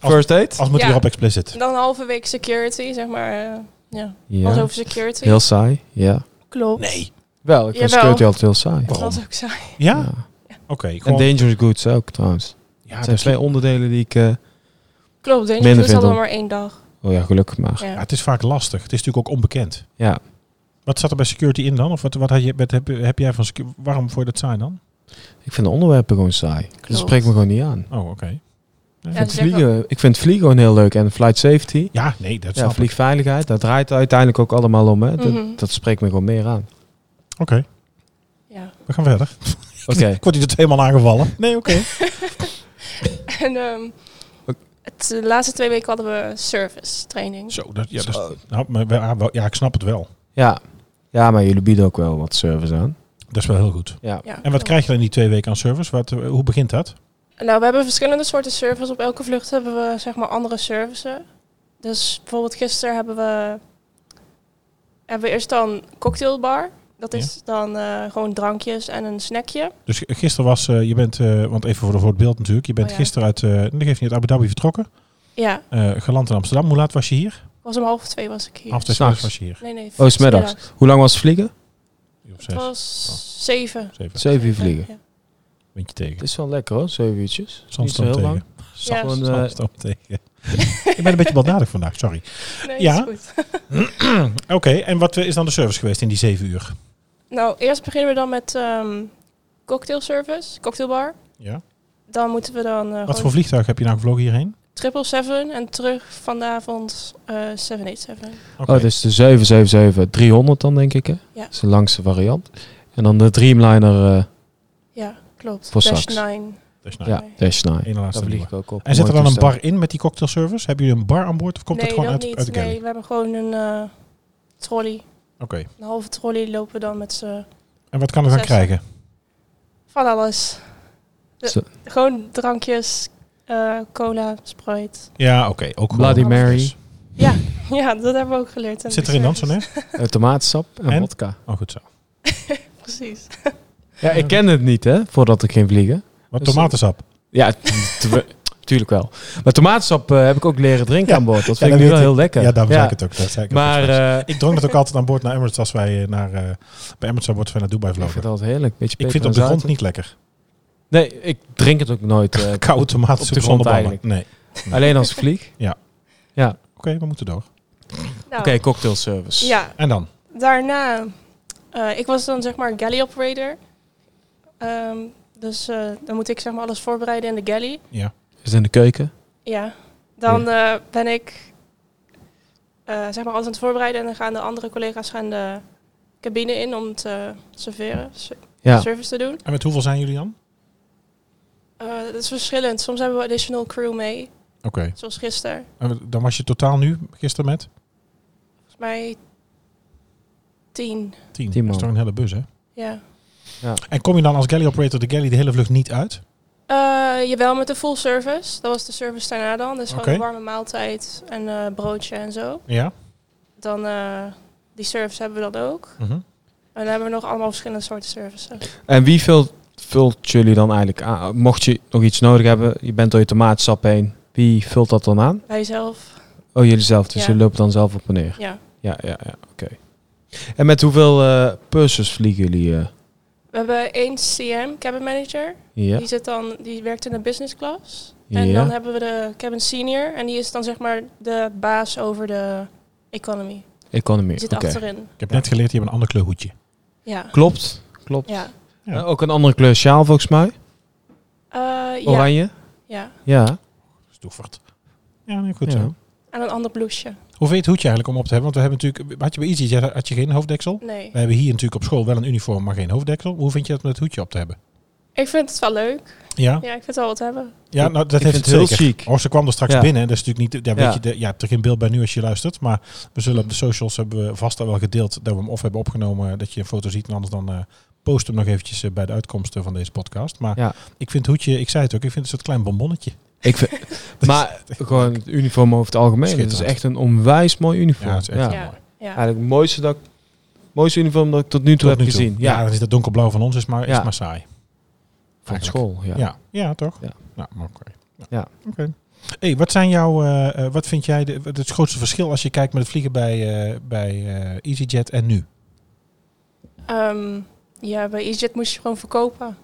B: eh, first aid.
A: Als moet
D: Ja.
A: hier op explicit.
D: Dan een halve week security, zeg maar. eh, ja, was
B: Ja,
D: over security.
B: heel saai. Ja.
D: Klopt.
A: Nee.
B: Wel, ik vind
D: Jawel.
B: security altijd heel saai.
D: Dat
A: Waarom?
D: was ook saai.
A: Ja?
B: Ja.
A: Oké.
B: En
A: gewoon-
B: dangerous goods ook, trouwens.
A: ja,
B: Het zijn
A: dat-
B: twee onderdelen die ik... eh,
D: Klopt, denk
B: Minder
D: je, dus
B: vind
D: hadden we
B: dan.
D: maar één dag.
B: oh ja, gelukkig maar.
A: ja,
D: Ja.
A: het is vaak lastig. Het is natuurlijk ook onbekend.
B: Ja,
A: Wat zat er bij security in dan? Of wat, wat had je, wat heb, heb jij van secu- Waarom vond je dat saai dan?
B: Ik vind de onderwerpen gewoon saai. Dus Dat
D: Klopt.
B: spreekt me gewoon niet aan.
A: Oh, oké.
D: Ja,
B: Ik vind,
D: ze zeggen-
B: vliegen, ik vind vliegen gewoon heel leuk. En flight safety,
A: Ja, nee, dat
B: ja,
A: snap ik.
B: vliegveiligheid, daar draait het uiteindelijk ook allemaal om. Hè. Dat,
D: Mhm.
B: dat spreekt me gewoon meer aan.
A: Oké,
D: Ja.
A: we gaan verder.
B: Oké,
A: Ik word hier tot helemaal aangevallen. Nee, oké.
D: En ehm, het, de laatste twee weken hadden we service training.
A: Zo, dat, ja, dat is- nou, maar wel- ja, wel- ja, ik snap het wel.
B: ja. Ja, maar jullie bieden ook wel wat service aan.
A: Dat is wel heel goed.
B: Ja.
D: Ja,
A: En wat krijg je dan in die twee weken aan service? Wat, eh, hoe begint dat?
D: Nou, we hebben verschillende soorten service. Op elke vlucht hebben we zeg maar andere services. Dus bijvoorbeeld gisteren hebben we, hebben we eerst dan cocktailbar. Dat is dan eh, gewoon drankjes en een snackje.
A: Dus gisteren was, eh, je bent, eh, want even voor, de- voor het beeld natuurlijk, je bent
D: Oh ja.
A: gisteren uit, eh dat geeft niet, uit Abu Dhabi vertrokken,
D: Ja,
A: eh, geland in Amsterdam. Hoe laat was je hier?
D: was om half twee was ik hier.
A: Half twee
B: S'nachts.
A: was je hier.
D: Nee, nee.
B: Oh, 's middags.
D: middags.
B: Hoe lang was het vliegen?
A: Uur of
D: Het
A: zes,
D: was zeven.
A: zeven.
B: Zeven uur Oh. vliegen.
D: Ja.
A: Windje
B: Het
A: tegen.
B: is wel lekker hoor, zeven uurtjes. Niet zo
A: Zandstroom
B: heel
A: tegen.
B: lang.
D: Ja.
B: Gewoon, eh,
A: Zandstroom tegen. ik ben een beetje baldadig vandaag, sorry.
D: Nee,
A: Ja?
D: is goed.
A: Oké, en wat eh, is dan de service geweest in die zeven uur?
D: Nou, eerst beginnen we dan met ehm cocktail service, cocktailbar.
A: Ja.
D: Dan moeten we dan eh
A: Wat
D: gewoon
A: voor vliegtuig heb je nou gevlogen hierheen?
D: 777 en terug vanavond eh 787.
A: Oké.
B: Oh, dus de 777-300 dan denk ik hè?
D: Ja.
B: Dat is de langste variant. En dan de Dreamliner, eh,
D: Ja, klopt.
B: Voor
D: Dash
B: Saks.
D: 9.
A: Dat is nou
B: ja, Dash 9.
A: één laatste
B: Daar
A: nieuwe.
B: vlieg ik ook op.
A: En zit er
B: Mooi
A: dan een
B: toestel.
A: bar in met die cocktailservice? Hebben jullie een bar aan boord of komt
D: nee,
A: het gewoon
D: dat
A: uit,
D: niet.
A: uit de galley?
D: nee, we hebben gewoon een eh, trolley.
A: Oké.
D: Een halve trolley lopen we dan met z'n
A: En wat kan ik dan
D: Zes.
A: krijgen?
D: van alles. De-
B: Zo.
D: gewoon drankjes, eh, cola, Sprite.
A: Ja, oké. ook gewoon.
B: Bloody Mary.
A: Dus-
D: Ja, ja, dat hebben we ook geleerd. aan
A: Zit
D: de
A: erin dan zo
D: service.
A: net?
B: Eh, tomatensap en,
A: En?
B: vodka.
A: Oh, goed zo.
D: Precies.
B: Ja, ik ken het niet, hè, voordat ik ging vliegen.
A: Wat
B: Dus-
A: tomatensap.
B: Ja, tu- tuurlijk wel. Maar tomatensap eh, heb ik ook leren drinken
A: Ja.
B: aan boord. Dat
A: Ja,
B: vind
A: dat
B: ik nu wel
A: weet
B: heel lekker.
A: Ja, daarom zei ik het ook. Dat zei ik ook
B: Maar
A: straks.
B: eh,
A: ik dronk dat ook altijd aan boord naar Emirates als wij eh, naar, eh, bij Emirates aan boord als wij naar Dubai
B: ik vind
A: vlogen.
B: het altijd heerlijk. Beetje
A: Ik
B: peper
A: vind het
B: en
A: op de grond
B: zout.
A: niet lekker.
B: Nee, ik drink het ook nooit. eh,
A: Koude
B: op de
A: tomatensoep
B: grond
A: zonder ballen.
B: eigenlijk.
A: Nee.
B: Alleen als ik vlieg. Oké,
A: Oké, we moeten door.
D: Nou,
B: cocktail service.
D: Ja,
A: En dan?
D: daarna eh, eh, ik was dan zeg maar galley operator. Ehm, dus eh, dan moet ik zeg maar alles voorbereiden in de galley.
A: Ja.
B: Is in de keuken.
D: Ja. Dan eh, ben ik eh, zeg maar alles aan het voorbereiden en dan gaan de andere collega's gaan de cabine in om te serveren, se-
B: Ja.
D: service te doen.
A: En met hoeveel zijn jullie dan?
D: Eh dat is verschillend. Soms hebben we additional crew mee,
A: Oké.
D: zoals gisteren.
A: En dan was je totaal nu, gisteren met?
D: Volgens mij tien.
A: Tien. Dat
B: Tien
A: is
B: man.
A: toch een hele bus, hè?
D: Ja.
A: En kom je dan als galley operator de galley de hele vlucht niet uit?
D: Eh, jawel, met de full service. Dat was de service daarna dan. Dus
A: Oké.
D: gewoon een warme maaltijd en eh, broodje en zo.
A: Ja.
D: Dan eh, die service hebben we dan ook.
A: Mhm.
D: En dan hebben we nog allemaal verschillende soorten services.
B: En wie vult, vult jullie dan eigenlijk aan? Mocht je nog iets nodig hebben, je bent door je tomaatsap heen. Wie vult dat dan aan?
D: Wij zelf,
B: Oh, jullie zelf. Dus
D: Ja.
B: jullie lopen dan zelf op en neer.
D: ja.
B: Ja, ja, ja. Oké. En met hoeveel eh purses vliegen jullie? eh?
D: We hebben één CM, cabin manager.
B: Ja.
D: Die, zit dan, die werkt in de business class.
B: Ja.
D: En dan hebben we de cabin senior. En die is dan zeg maar de baas over de economy.
B: Economy.
D: Die
B: Oké.
D: zit achterin.
A: Ik heb net geleerd, je hebt een ander kleurhoedje.
D: Ja.
B: Klopt. Klopt.
D: ja.
A: Ja.
B: Eh, ook een andere kleur sjaal volgens mij.
D: Eh, ja.
B: Oranje.
D: ja.
B: Ja.
A: Stoeffert. Ja, nee, goed
B: Ja.
A: zo.
D: En een ander blouseje.
A: Hoe vind je het hoedje eigenlijk om op te hebben? Want we hebben natuurlijk, had je bij Easy had je geen hoofddeksel?
D: Nee.
A: We hebben hier natuurlijk op school wel een uniform, maar geen hoofddeksel. Hoe vind je dat om het hoedje op te hebben?
D: Ik vind het wel leuk.
A: Ja,
D: Ja, ik vind het wel wat hebben.
A: ja nou, dat
B: Ik
A: heeft
B: vind
A: het
B: het heel
A: zeker.
B: chic.
A: Of ze kwam er straks
B: Ja.
A: binnen. Dat is natuurlijk niet. Ja, weet
B: Ja.
A: Je, de, ja, je hebt er geen beeld bij nu als je luistert. Maar we zullen op de socials hebben we vast al wel gedeeld dat we hem of hebben opgenomen dat je een foto ziet. En anders dan eh, post hem nog eventjes eh, bij de uitkomsten van deze podcast. Maar
B: Ja.
A: ik vind het hoedje, ik zei het ook, ik vind het een soort klein bonbonnetje.
B: Ik vind, maar gewoon het uniform over het algemeen. Het is
A: Schitterend.
B: echt een onwijs mooi uniform.
A: Ja, het is echt
B: Ja.
A: heel
D: Ja.
A: Ah, mooi.
D: Ja.
B: Eigenlijk het mooiste, dat ik, mooiste uniform dat ik tot nu
A: Tot
B: toe heb
A: nu toe.
B: gezien.
A: Ja,
B: Ja,
A: dan is dat donkerblauw van ons is maar, is
B: Ja.
A: maar saai.
B: van
A: Eigenlijk.
B: school. Ja.
A: Ja, ja, toch?
B: Ja.
A: Nou, maar oké.
B: Ja.
A: Oké. Hey, wat zijn jouw, eh, eh, wat vind jij de, wat het grootste verschil als je kijkt met het vliegen bij, eh, bij eh, EasyJet en nu?
D: Ehm, ja, bij EasyJet moest je gewoon verkopen.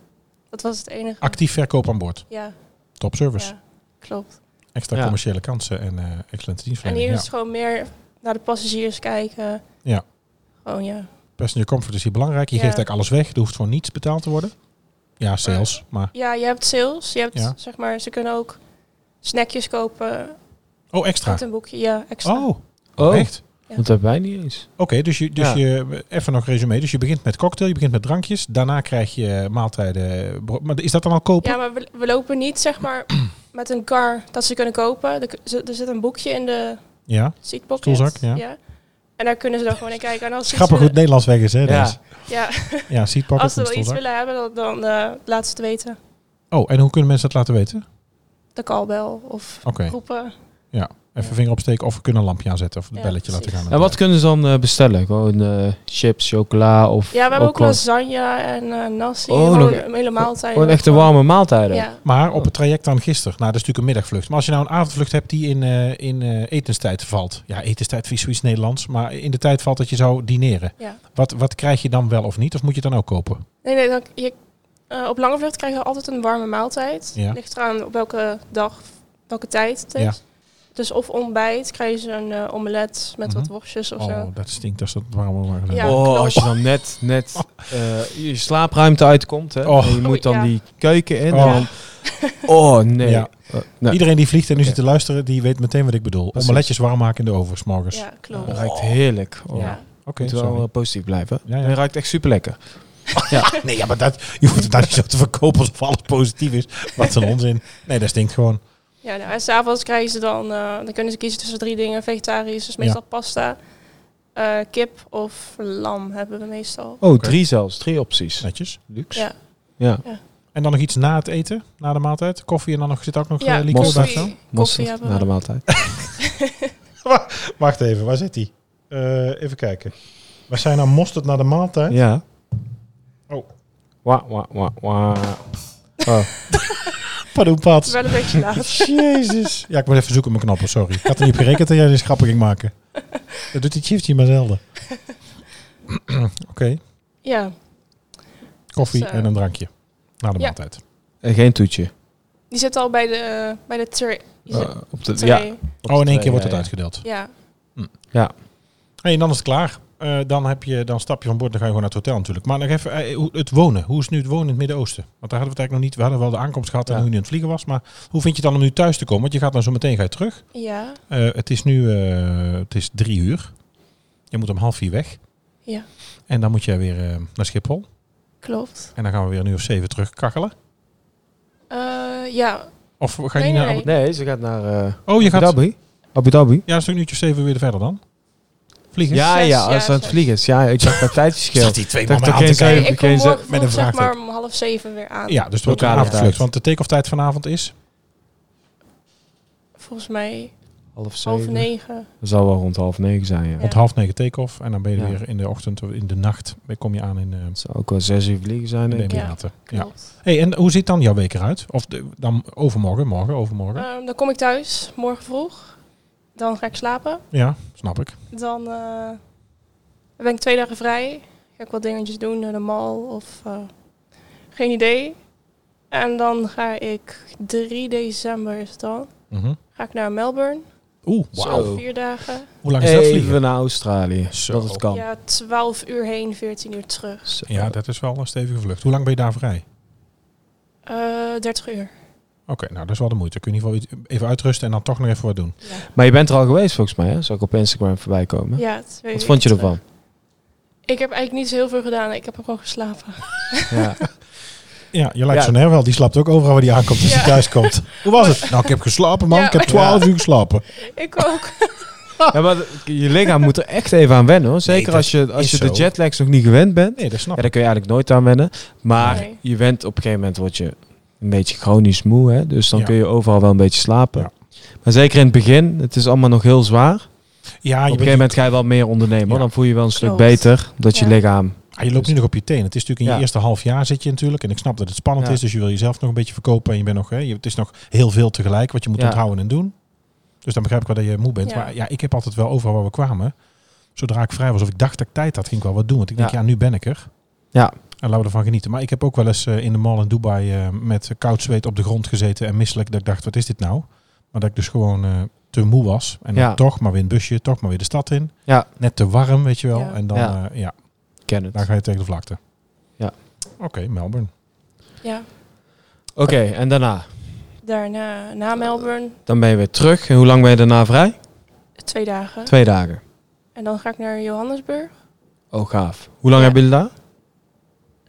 D: Dat was het enige.
A: Actief verkoop aan boord.
D: ja,
A: Top service.
D: ja, klopt.
A: Extra
B: Ja.
A: commerciële kansen en eh, excellente
D: En hier
A: dienstverlening.
D: is
A: Ja.
D: het gewoon meer naar de passagiers kijken.
A: Ja.
D: Gewoon ja.
A: Passenger comfort is hier belangrijk. Je
D: Ja.
A: geeft eigenlijk alles weg. Er hoeft voor niets betaald te worden. Ja, sales. Maar...
D: Ja, je hebt sales. Je hebt
A: Ja.
D: zeg maar, ze kunnen ook snackjes kopen
A: Oh, extra.
D: uit een boekje. Ja, extra.
A: Oh,
B: Oh,
A: echt?
D: Ja.
B: dat hebben wij niet eens.
A: Oké, dus, je, dus
B: Ja.
A: je, even nog resume. Dus je begint met cocktail, je begint met drankjes. Daarna krijg je maaltijden. bro- Maar is dat dan al kopen?
D: Ja, maar we, we lopen niet zeg maar met een car dat ze kunnen kopen. Er, k- ze- er zit een boekje in de
A: ja.
D: seatpocket.
A: Stoelzak, ja.
D: En daar kunnen ze dan gewoon in kijken. En als ze iets
A: Grappig hoe het
D: willen-
A: Nederlands weg is, hè?
B: Ja.
A: Dennis?
D: ja,
A: ja seat pocket
D: als ze
A: en
D: wel iets
A: stoelzak.
D: willen hebben, dan, dan eh, laat ze het weten.
A: Oh, en hoe kunnen mensen dat laten weten?
D: De kalbel of
A: Oké,
D: roepen.
A: even vinger opsteken of we kunnen een lampje aanzetten of het
D: Ja,
A: belletje laten
D: precies.
A: gaan.
B: En wat kunnen ze dan eh, bestellen? Gewoon eh, chips, chocola of...
D: Ja, we hebben ook
B: gewoon,
D: lasagne en eh nasi.
B: Oh,
D: gewoon
B: nog-
D: een hele maaltijd.
B: gewoon echte warme maaltijden.
D: Ja,
A: Maar op het traject dan gisteren, nou dat is natuurlijk een middagvlucht. Maar als je nou een avondvlucht hebt die in, eh, in eh, etenstijd valt. Ja, etenstijd vies zoiets Nederlands. Maar in de tijd valt dat je zou dineren.
D: ja.
A: Wat, wat krijg je dan wel of niet? Of moet je het dan ook kopen?
D: Nee, nee, dan, je, eh, op lange vlucht krijg je altijd een warme maaltijd.
A: Ja.
D: Ligt eraan op welke dag, welke tijd het is.
A: Ja.
D: Dus of ontbijt krijg je een eh, omelet met wat
A: Mhm.
D: worstjes of zo.
A: Oh, dat stinkt als dat warm maar
D: Ja,
B: oh,
D: klopt.
B: als je dan net, net eh, je slaapruimte uitkomt, hè,
A: Oh.
B: en je moet dan
D: Ja.
B: die keuken in.
A: Oh.
B: Oh, dan, oh nee.
A: Ja.
B: Eh, nee.
A: Iedereen die vliegt en nu
B: Oké.
A: zit te luisteren, die weet meteen wat ik bedoel.
B: Precies.
A: Omeletjes warm maken in de oven, s'morgens.
D: Ja, klopt.
B: Het ruikt heerlijk. Oh.
D: Ja.
A: Oké,
B: Moet wel
A: sorry.
B: eh, positief blijven.
A: Ja, ja.
B: En Het ruikt echt super lekker.
A: Nee, ja, maar dat, je hoeft het daar niet zo te verkopen alsof alles positief is. Wat een onzin. Nee, dat stinkt gewoon.
D: ja nou, en s'avonds krijgen ze dan, eh, dan kunnen ze kiezen tussen drie dingen. Vegetarisch, dus meestal pasta. eh, kip of lam hebben we meestal.
B: Oh, drie zelfs. Drie opties.
A: Netjes.
B: Luxe.
D: Ja.
B: Ja.
A: En dan nog iets na het eten, na de maaltijd. Koffie en dan nog, zit ook nog eh, ja, liqueur bij of
D: koffie,
A: zo?
D: koffie
B: Mosterd Nou,
D: hebben
B: na
D: we.
B: de maaltijd.
A: Wacht even, waar zit die? Eh, even kijken. We zijn nou mosterd naar de maaltijd.
B: ja.
A: Oh.
B: Wa, wa, wa, wa. Oh.
D: Het is
A: Padoenpaats.
D: wel een beetje laat.
A: Jezus. Ja, ik moet even zoeken op mijn knoppen, sorry. Ik had er niet op gerekend dat jij deze grappig ging maken. Dat doet die chiefje maar zelden. Oké,
D: Ja,
A: koffie
D: Zo.
A: en een drankje. Na de
D: Ja.
A: maaltijd.
B: En Eh, geen toetje.
D: die zit al bij de, eh, bij de tray. Die zit-
B: Eh, op de,
D: tray.
B: ja.
A: Oh, in één
B: twee,
A: keer wordt het
B: ja, ja.
A: uitgedeeld.
D: ja.
A: Hey, en dan is het klaar. Eh, eh, dan, heb je, dan stap je van boord, dan ga je gewoon naar het hotel natuurlijk. Maar nog even, eh, hoe- het wonen. Hoe is het nu het wonen in het Midden-Oosten? Want daar hadden we het eigenlijk nog niet. We hadden wel de aankomst gehad en
B: Ja.
A: hoe je nu aan het vliegen was. Maar hoe vind je het dan om nu thuis te komen? Want je gaat dan zo meteen ga je terug.
D: Ja,
A: Eh, het is nu eh, het is drie uur. Je moet om half vier weg.
D: Ja.
A: En dan moet jij weer eh, naar Schiphol.
D: klopt.
A: En dan gaan we weer een uur of zeven terugkakkelen.
D: Eh, ja,
A: Of ga je
D: Nee,
A: niet naar...
D: nee,
A: Abu-
B: Nee, ze gaat naar eh
A: Oh, je
B: Abu
A: gaat...
B: Dhabi. Abu Dhabi.
A: Ja, dat is een uurtje of zeven weer verder dan. Vliegen.
B: Ja,
D: Zes,
B: ja,
D: ja,
B: als ze aan het
D: zes.
B: vliegen is. Ja, ik zag dat tijdverschil.
A: die twee
B: Dacht
A: mannen
B: dat
A: aan te
B: geen
A: kijken.
B: zeven-
D: ik kom
B: ze-
D: morgen
A: met een
D: vroeg, zeg
A: vraagteken.
D: maar om half zeven weer aan.
A: Ja, dus het wordt een
B: Lokale
A: avondvlucht.
B: tijd.
A: Want de take-off tijd vanavond is...
D: Volgens mij
B: Half
D: half
B: zeven.
D: negen.
B: Dat zal wel rond half negen zijn, ja.
D: Ja.
A: Rond half negen take-off. En dan ben je
B: Ja.
A: weer in de ochtend of in de nacht. Dan kom je aan in eh,
B: Het zou ook wel zes uur vliegen zijn,
A: de
B: denk ik.
A: Emiraten. Ja.
D: Klopt.
A: Hey, en hoe ziet dan jouw week eruit? Of de- dan overmorgen, morgen, overmorgen.
D: Ehm, dan kom ik thuis, morgen vroeg. Dan ga ik slapen.
A: ja, snap ik.
D: Dan eh, ben ik twee dagen vrij. Ga ik wat dingetjes doen naar de mall of eh, geen idee. En dan ga ik 3 december is het dan.
A: Mhm.
D: Ga ik naar Melbourne.
A: Oeh,
B: Zo.
A: wauw.
D: Vier dagen.
A: Hoe lang is dat vliegen?
B: Even naar Australië,
A: Zo.
B: dat het kan.
D: Ja, 12 uur heen, 14 uur terug.
B: Zo.
A: Ja, dat is wel een stevige vlucht. Hoe lang ben je daar vrij?
D: Eh 30 uur.
A: Oké, nou dat is wel de moeite. Kun je in ieder geval even uitrusten en dan toch nog even wat doen.
D: Ja,
B: Maar je bent er al geweest volgens mij, hè? Zou ik op Instagram voorbij komen?
D: ja twee
B: Wat
D: uur
B: vond je
D: terug.
B: ervan?
D: Ik heb eigenlijk niet zo heel veel gedaan. Ik heb gewoon geslapen.
B: Ja.
A: Ja, je lijkt
B: Ja.
A: zo'n wel. Die slaapt ook overal waar die aankomt als hij
D: Ja.
A: thuis komt. Hoe was het? Nou, ik heb geslapen man.
D: Ja.
A: Ik heb 12 uur geslapen.
D: Ik ook.
B: Ja, maar je lichaam moet er echt even aan wennen hoor. Zeker
A: dat
B: als je, als
A: is
B: je de
A: zo.
B: jetlags nog niet gewend bent.
A: Nee, dat snap
B: Ja,
A: ik.
B: daar kun je eigenlijk nooit aan wennen. Maar
D: Nee.
B: je went op een gegeven moment word je een beetje chronisch moe. Hè? Dus dan
A: Ja.
B: kun je overal wel een beetje slapen.
A: Ja.
B: Maar zeker in het begin, het is allemaal nog heel zwaar.
A: Ja,
B: op
A: Ah, je,
B: een
A: bent,
B: gegeven moment ga je wel meer ondernemen. hoor.
A: Ja.
B: Dan voel je wel een stuk
D: Klopt.
B: beter. Dat je
D: Ja.
B: lichaam...
A: ah, je loopt nu nog op je teen. Het is natuurlijk in je
B: Dus- Ja.
A: eerste half jaar zit je natuurlijk. En ik snap dat het spannend
B: Ja.
A: is. Dus je wil jezelf nog een beetje verkopen. En je bent nog, hè, je- het is nog heel veel tegelijk wat je moet
B: Ja.
A: onthouden en doen. Dus dan begrijp ik wel dat je moe bent.
D: Ja.
A: Maar ja, ik heb altijd wel overal waar we kwamen. Zodra ik vrij was of ik dacht dat ik tijd had, ging ik wel wat doen. Want ik denk, ja,
B: Ja.
A: nu ben ik er.
B: Ja.
A: En laten we ervan genieten. Maar ik heb ook wel eens eh, in de mall in Dubai eh, met koud zweet op de grond gezeten en misselijk. Dat ik dacht, wat is dit nou? Maar dat ik dus gewoon eh, te moe was. En dan
B: Ja.
A: toch maar weer een busje, toch maar weer de stad in.
B: Ja.
A: Net te warm, weet je wel.
D: Ja.
A: En dan,
B: Ja.
A: eh, ja,
B: Ik ken het.
A: dan
B: Oké,
A: ga je tegen de vlakte.
B: Ja.
A: Oké, Melbourne.
D: Ja,
B: en daarna?
D: daarna na Melbourne.
B: Dan ben je weer terug. En hoe lang ben je daarna vrij?
D: Twee dagen.
B: Twee dagen.
D: En dan ga ik naar Johannesburg.
B: Oh, gaaf. Hoe lang
D: Ja.
B: hebben jullie daar?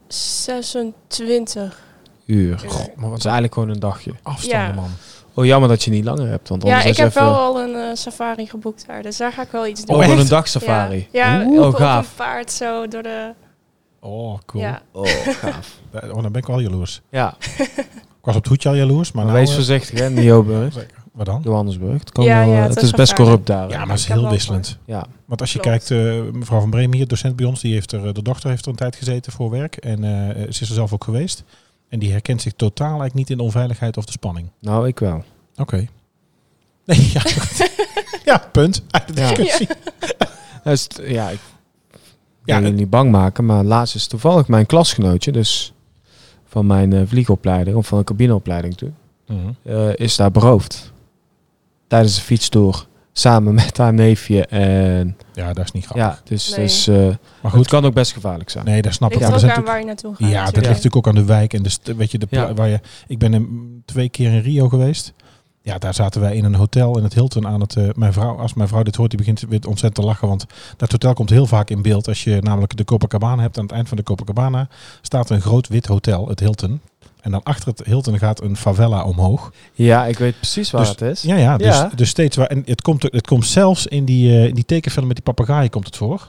D: 26.
B: Uur.
D: uur.
B: Goh, dat is eigenlijk gewoon een dagje.
A: Afstanden,
D: Ja.
A: man.
B: Oh, jammer dat je niet langer hebt. Want
D: ja,
B: anders
D: ik
B: is
D: heb
B: even...
D: wel al een eh, safari geboekt daar. Dus daar ga ik wel iets doen.
B: Oh, gewoon
A: echt?
B: een dagsafari.
D: Ja, ja
B: Oeh.
D: op,
B: oh,
D: op
B: gaaf.
D: een paard zo door de...
A: Oh, cool.
D: Ja.
B: Oh, gaaf.
A: Eh, Oh, dan ben ik wel jaloers.
B: Ja,
A: Ik was op het hoedje al jaloers, maar
B: maar
A: nou...
B: wees
A: eh,
B: voorzichtig, hè, in Joburg.
A: wat dan?
B: Johannesburg. Het, kan
D: Ja,
B: wel,
D: ja,
B: eh,
D: het
B: het,
D: is
B: is best
D: gevaarlijk.
B: corrupt daar.
A: Ja,
B: Ja.
A: maar het is
D: Ik heb
A: heel
D: wel
A: wisselend.
B: ja.
A: Want als je
D: Klopt.
A: kijkt, eh, mevrouw van Bremen hier, docent bij ons, die heeft er, eh, de dochter heeft er een tijd gezeten voor werk. En eh, ze is er zelf ook geweest. En die herkent zich totaal eigenlijk niet in de onveiligheid of de spanning.
B: Nou, ik wel.
A: Oké. Nee, ja. ja, punt. Uit de
B: Ja.
A: discussie.
B: Dus, t- ja, ik
A: Ja,
B: wil
A: het-
B: jullie niet bang maken, maar laatst is toevallig mijn klasgenootje, dus van mijn eh, vliegopleiding, of van de cabineopleiding toen,
A: Mhm.
B: eh, is daar beroofd. Tijdens de fietstoer, samen met haar neefje. En,
A: Ja, dat is niet grappig.
B: ja, dus,
D: Nee.
B: dus eh,
A: Oh. Maar
B: het
A: goed,
B: kan ook best gevaarlijk zijn.
A: nee, dat snap ik.
D: Ligt
A: Maar er
D: ook
A: zijn
D: aan
A: natuurlijk-
D: waar je naartoe gaat.
A: Ja, dat ligt
D: natuurlijk.
A: natuurlijk ook aan de wijk en de, st- weet je, de pla-
B: Ja.
A: waar je. Ik ben een, twee keer in Rio geweest. Ja, daar zaten wij in een hotel in het Hilton aan het. eh, mijn vrouw, als mijn vrouw dit hoort, die begint weer ontzettend te lachen. Want dat hotel komt heel vaak in beeld. Als je namelijk de Copacabana hebt, aan het eind van de Copacabana staat een groot wit hotel, het Hilton. En dan achter het Hilton gaat een favela omhoog.
B: Ja, ik weet precies waar
A: Dus-
B: het is.
A: Ja, ja. Dus,
B: Ja.
A: dus steeds waar. En het komt, het komt zelfs in die, eh, in die tekenfilm met die papegaaien komt het voor.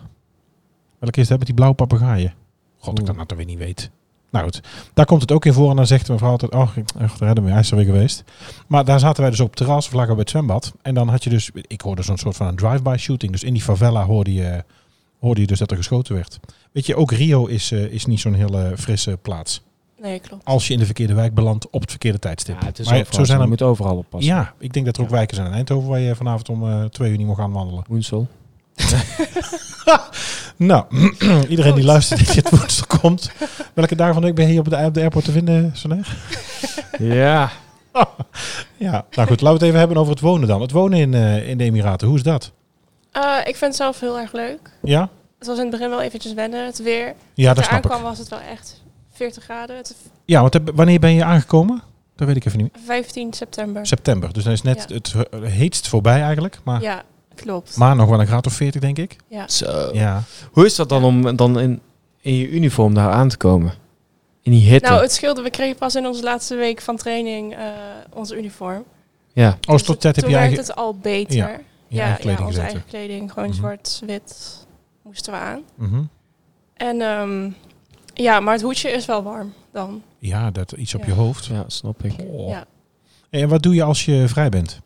A: Welke is dat met die blauwe papegaaien? God, ik dat
B: Oeh.
A: nou toch weer niet weet. Nou goed, daar komt het ook in voor. En dan zegt mevrouw altijd, oh, ik- echt, daar hebben we, hij is er weer geweest. Maar daar zaten wij dus op het terras, of lagen we bij het zwembad. En dan had je dus, ik hoorde zo'n soort van een drive-by shooting. Dus in die favela hoorde je, hoorde je dus dat er geschoten werd. Weet je, ook Rio is, eh, is niet zo'n hele frisse plaats.
D: Nee, klopt.
A: Als je in de verkeerde wijk belandt op het verkeerde tijdstip.
B: Ja, het is
A: Maar
B: overal. Zo
A: er-
B: Je moet overal oppassen.
A: ja, ik denk dat er ook
B: Ja.
A: wijken zijn in Eindhoven waar je vanavond om eh, twee uur niet mag gaan wandelen.
B: Woensel.
A: Nou, iedereen die
D: Goed.
A: luistert die dit woensdag komt. Welke dagen van de week ben je hier op de, op de airport te vinden, Soner?
B: Ja.
A: Ja, nou goed, laten we het even hebben over het wonen dan. Het wonen in, eh, in de Emiraten, hoe is dat?
D: Eh, ik vind het zelf heel erg leuk.
A: Ja?
D: Het was in het begin wel eventjes wennen, het weer.
A: Ja, dat
D: Als je
A: snap
D: aankwam
A: ik.
D: was het wel echt 40 graden. Het
A: Ja, want heb- wanneer ben je aangekomen? Dat weet ik even niet. meer.
D: 15 september.
A: September. Dus dan is net
D: Eh. Ja.
A: het eh, heetst voorbij eigenlijk. Maar,
D: Ja, klopt.
A: maar nog wel een graad of 40, denk ik.
D: Ja.
B: Zo.
A: Ja.
B: Hoe is dat dan om dan in, in je uniform daar aan te komen? In die hitte?
D: Nou, het scheelde. We kregen pas in onze laatste week van training eh ons uniform.
B: ja.
A: Oh,
D: Dus
A: tot tijd heb
D: toen
A: je
D: werd
A: eigen,
D: het al beter.
A: Ja,
D: Ja,
A: je eigen kleding
D: onze
A: gezeten.
D: eigen kleding. Gewoon
A: Mhm.
D: zwart, wit moesten we aan.
A: Mhm.
D: En ehm, ja, maar het hoedje is wel warm dan.
A: Ja, dat iets op
D: Ja.
A: je hoofd.
B: ja, snap ik.
A: Oh.
D: Ja.
A: En wat doe je als je vrij bent?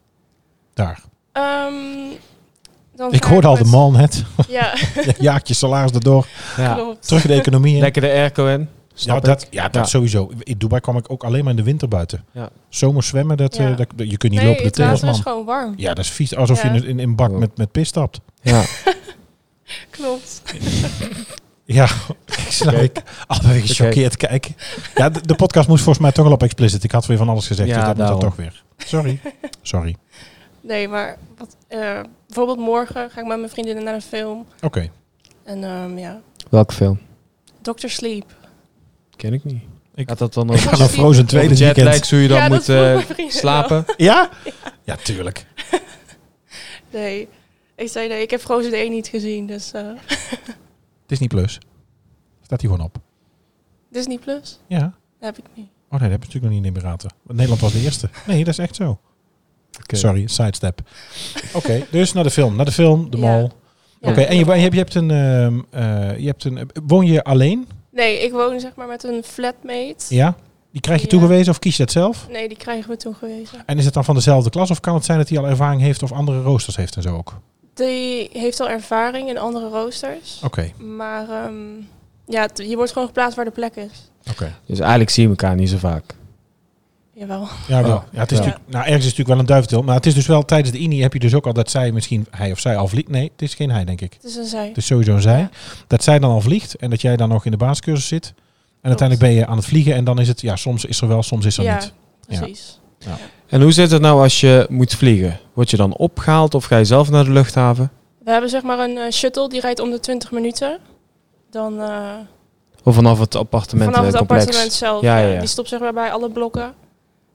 A: Daar.
D: Ehm, dan
A: Ik
D: ga
A: hoorde al de
D: met-
A: man net.
D: Ja,
A: Jaak je salaris erdoor.
B: Ja.
D: klopt.
A: Terug de economie in.
B: Lekker de airco in.
A: Ja,
B: Snap
A: dat,
B: ik.
A: ja, dat
B: Ja.
A: sowieso. In Dubai kwam ik ook alleen maar in de winter buiten.
B: Ja.
A: Zomer zwemmen, dat, eh,
D: Ja.
A: dat, je kunt niet
D: Nee,
A: lopen de
D: het water is
A: teelsman.
D: gewoon warm.
A: Ja, dat is vies. Alsof
D: Ja.
A: je in, in een bak
B: Ja.
A: met, met pis stapt.
B: Ja.
D: Klopt.
A: Ja, ik snap
B: Oké.
A: ik. Altijd gechoqueerd kijken. Ja, de, de podcast moest volgens mij toch al op explicit. Ik had weer van alles gezegd,
B: Ja,
A: dus dat moet dan
B: daarom.
A: toch weer. Sorry. Sorry.
D: Nee, maar wat, eh, bijvoorbeeld morgen ga ik met mijn vriendinnen naar een film.
A: Oké.
D: En ehm, ja,
B: Welke film?
D: Dr. Sleep.
B: Ken ik niet.
A: Ik-
B: Gaat dat dan
A: Ik
B: over
A: ga naar Frozen 2 dit weekend.
B: jetlags, hoe je dan
D: Ja, dat
B: moet
D: vroeg
B: eh,
D: mijn vriendin
B: slapen?
A: Ja? Ja, tuurlijk.
D: Nee, ik zei nee, ik heb Frozen 1 niet gezien. Dus eh
A: Disney Plus. Staat die gewoon op.
D: Disney Plus
A: Ja.
D: heb ik niet.
A: Oh nee, dat heb ik natuurlijk nog niet in de beraten. Want Nederland was de eerste. Nee, dat is echt zo.
B: Oké.
A: Sorry, sidestep. Oké, dus naar de film. Naar de film, de
D: Ja.
A: mall.
D: Ja.
A: Oké, en je, je, hebt, je hebt een... ehm, eh, je hebt een woon je alleen?
D: Nee, ik woon zeg maar met een flatmate.
A: Ja. Die krijg je
D: Ja.
A: toegewezen of kies je dat zelf?
D: Nee, die krijgen we toen gewezen.
A: En is het dan van dezelfde klas? Of kan het zijn dat hij al ervaring heeft of andere roosters heeft en zo ook? Oké.
D: Die heeft al ervaring in andere roosters. Maar ehm, ja, t- je wordt gewoon geplaatst waar de plek is.
A: Oké.
B: Dus eigenlijk zie je elkaar niet zo vaak.
D: Jawel.
A: Ja, wel.
B: Oh,
A: ja, het is
B: ja.
A: natuurlijk, nou, ergens is het natuurlijk wel een duivendeel. Maar het is dus wel tijdens de INI heb je dus ook al dat zij misschien hij of zij al vliegt. Nee, het is geen hij, denk ik.
D: Het is een zij.
A: Het is Dus sowieso een zij. Dat zij dan al vliegt en dat jij dan nog in de basiscursus zit. En uiteindelijk ben je aan het vliegen en dan is het, ja, soms is er wel, soms is er
D: ja,
A: niet.
D: precies.
B: En hoe zit het nou als je moet vliegen? Word je dan opgehaald of ga je zelf naar de luchthaven?
D: We hebben zeg maar een eh, shuttle die rijdt om de 20 minuten. Dan eh,
B: Of vanaf het appartement
D: vanaf het
B: eh, complex?
D: appartement zelf.
B: Ja,
D: ja,
B: ja, ja.
D: Die stopt zeg maar bij alle blokken.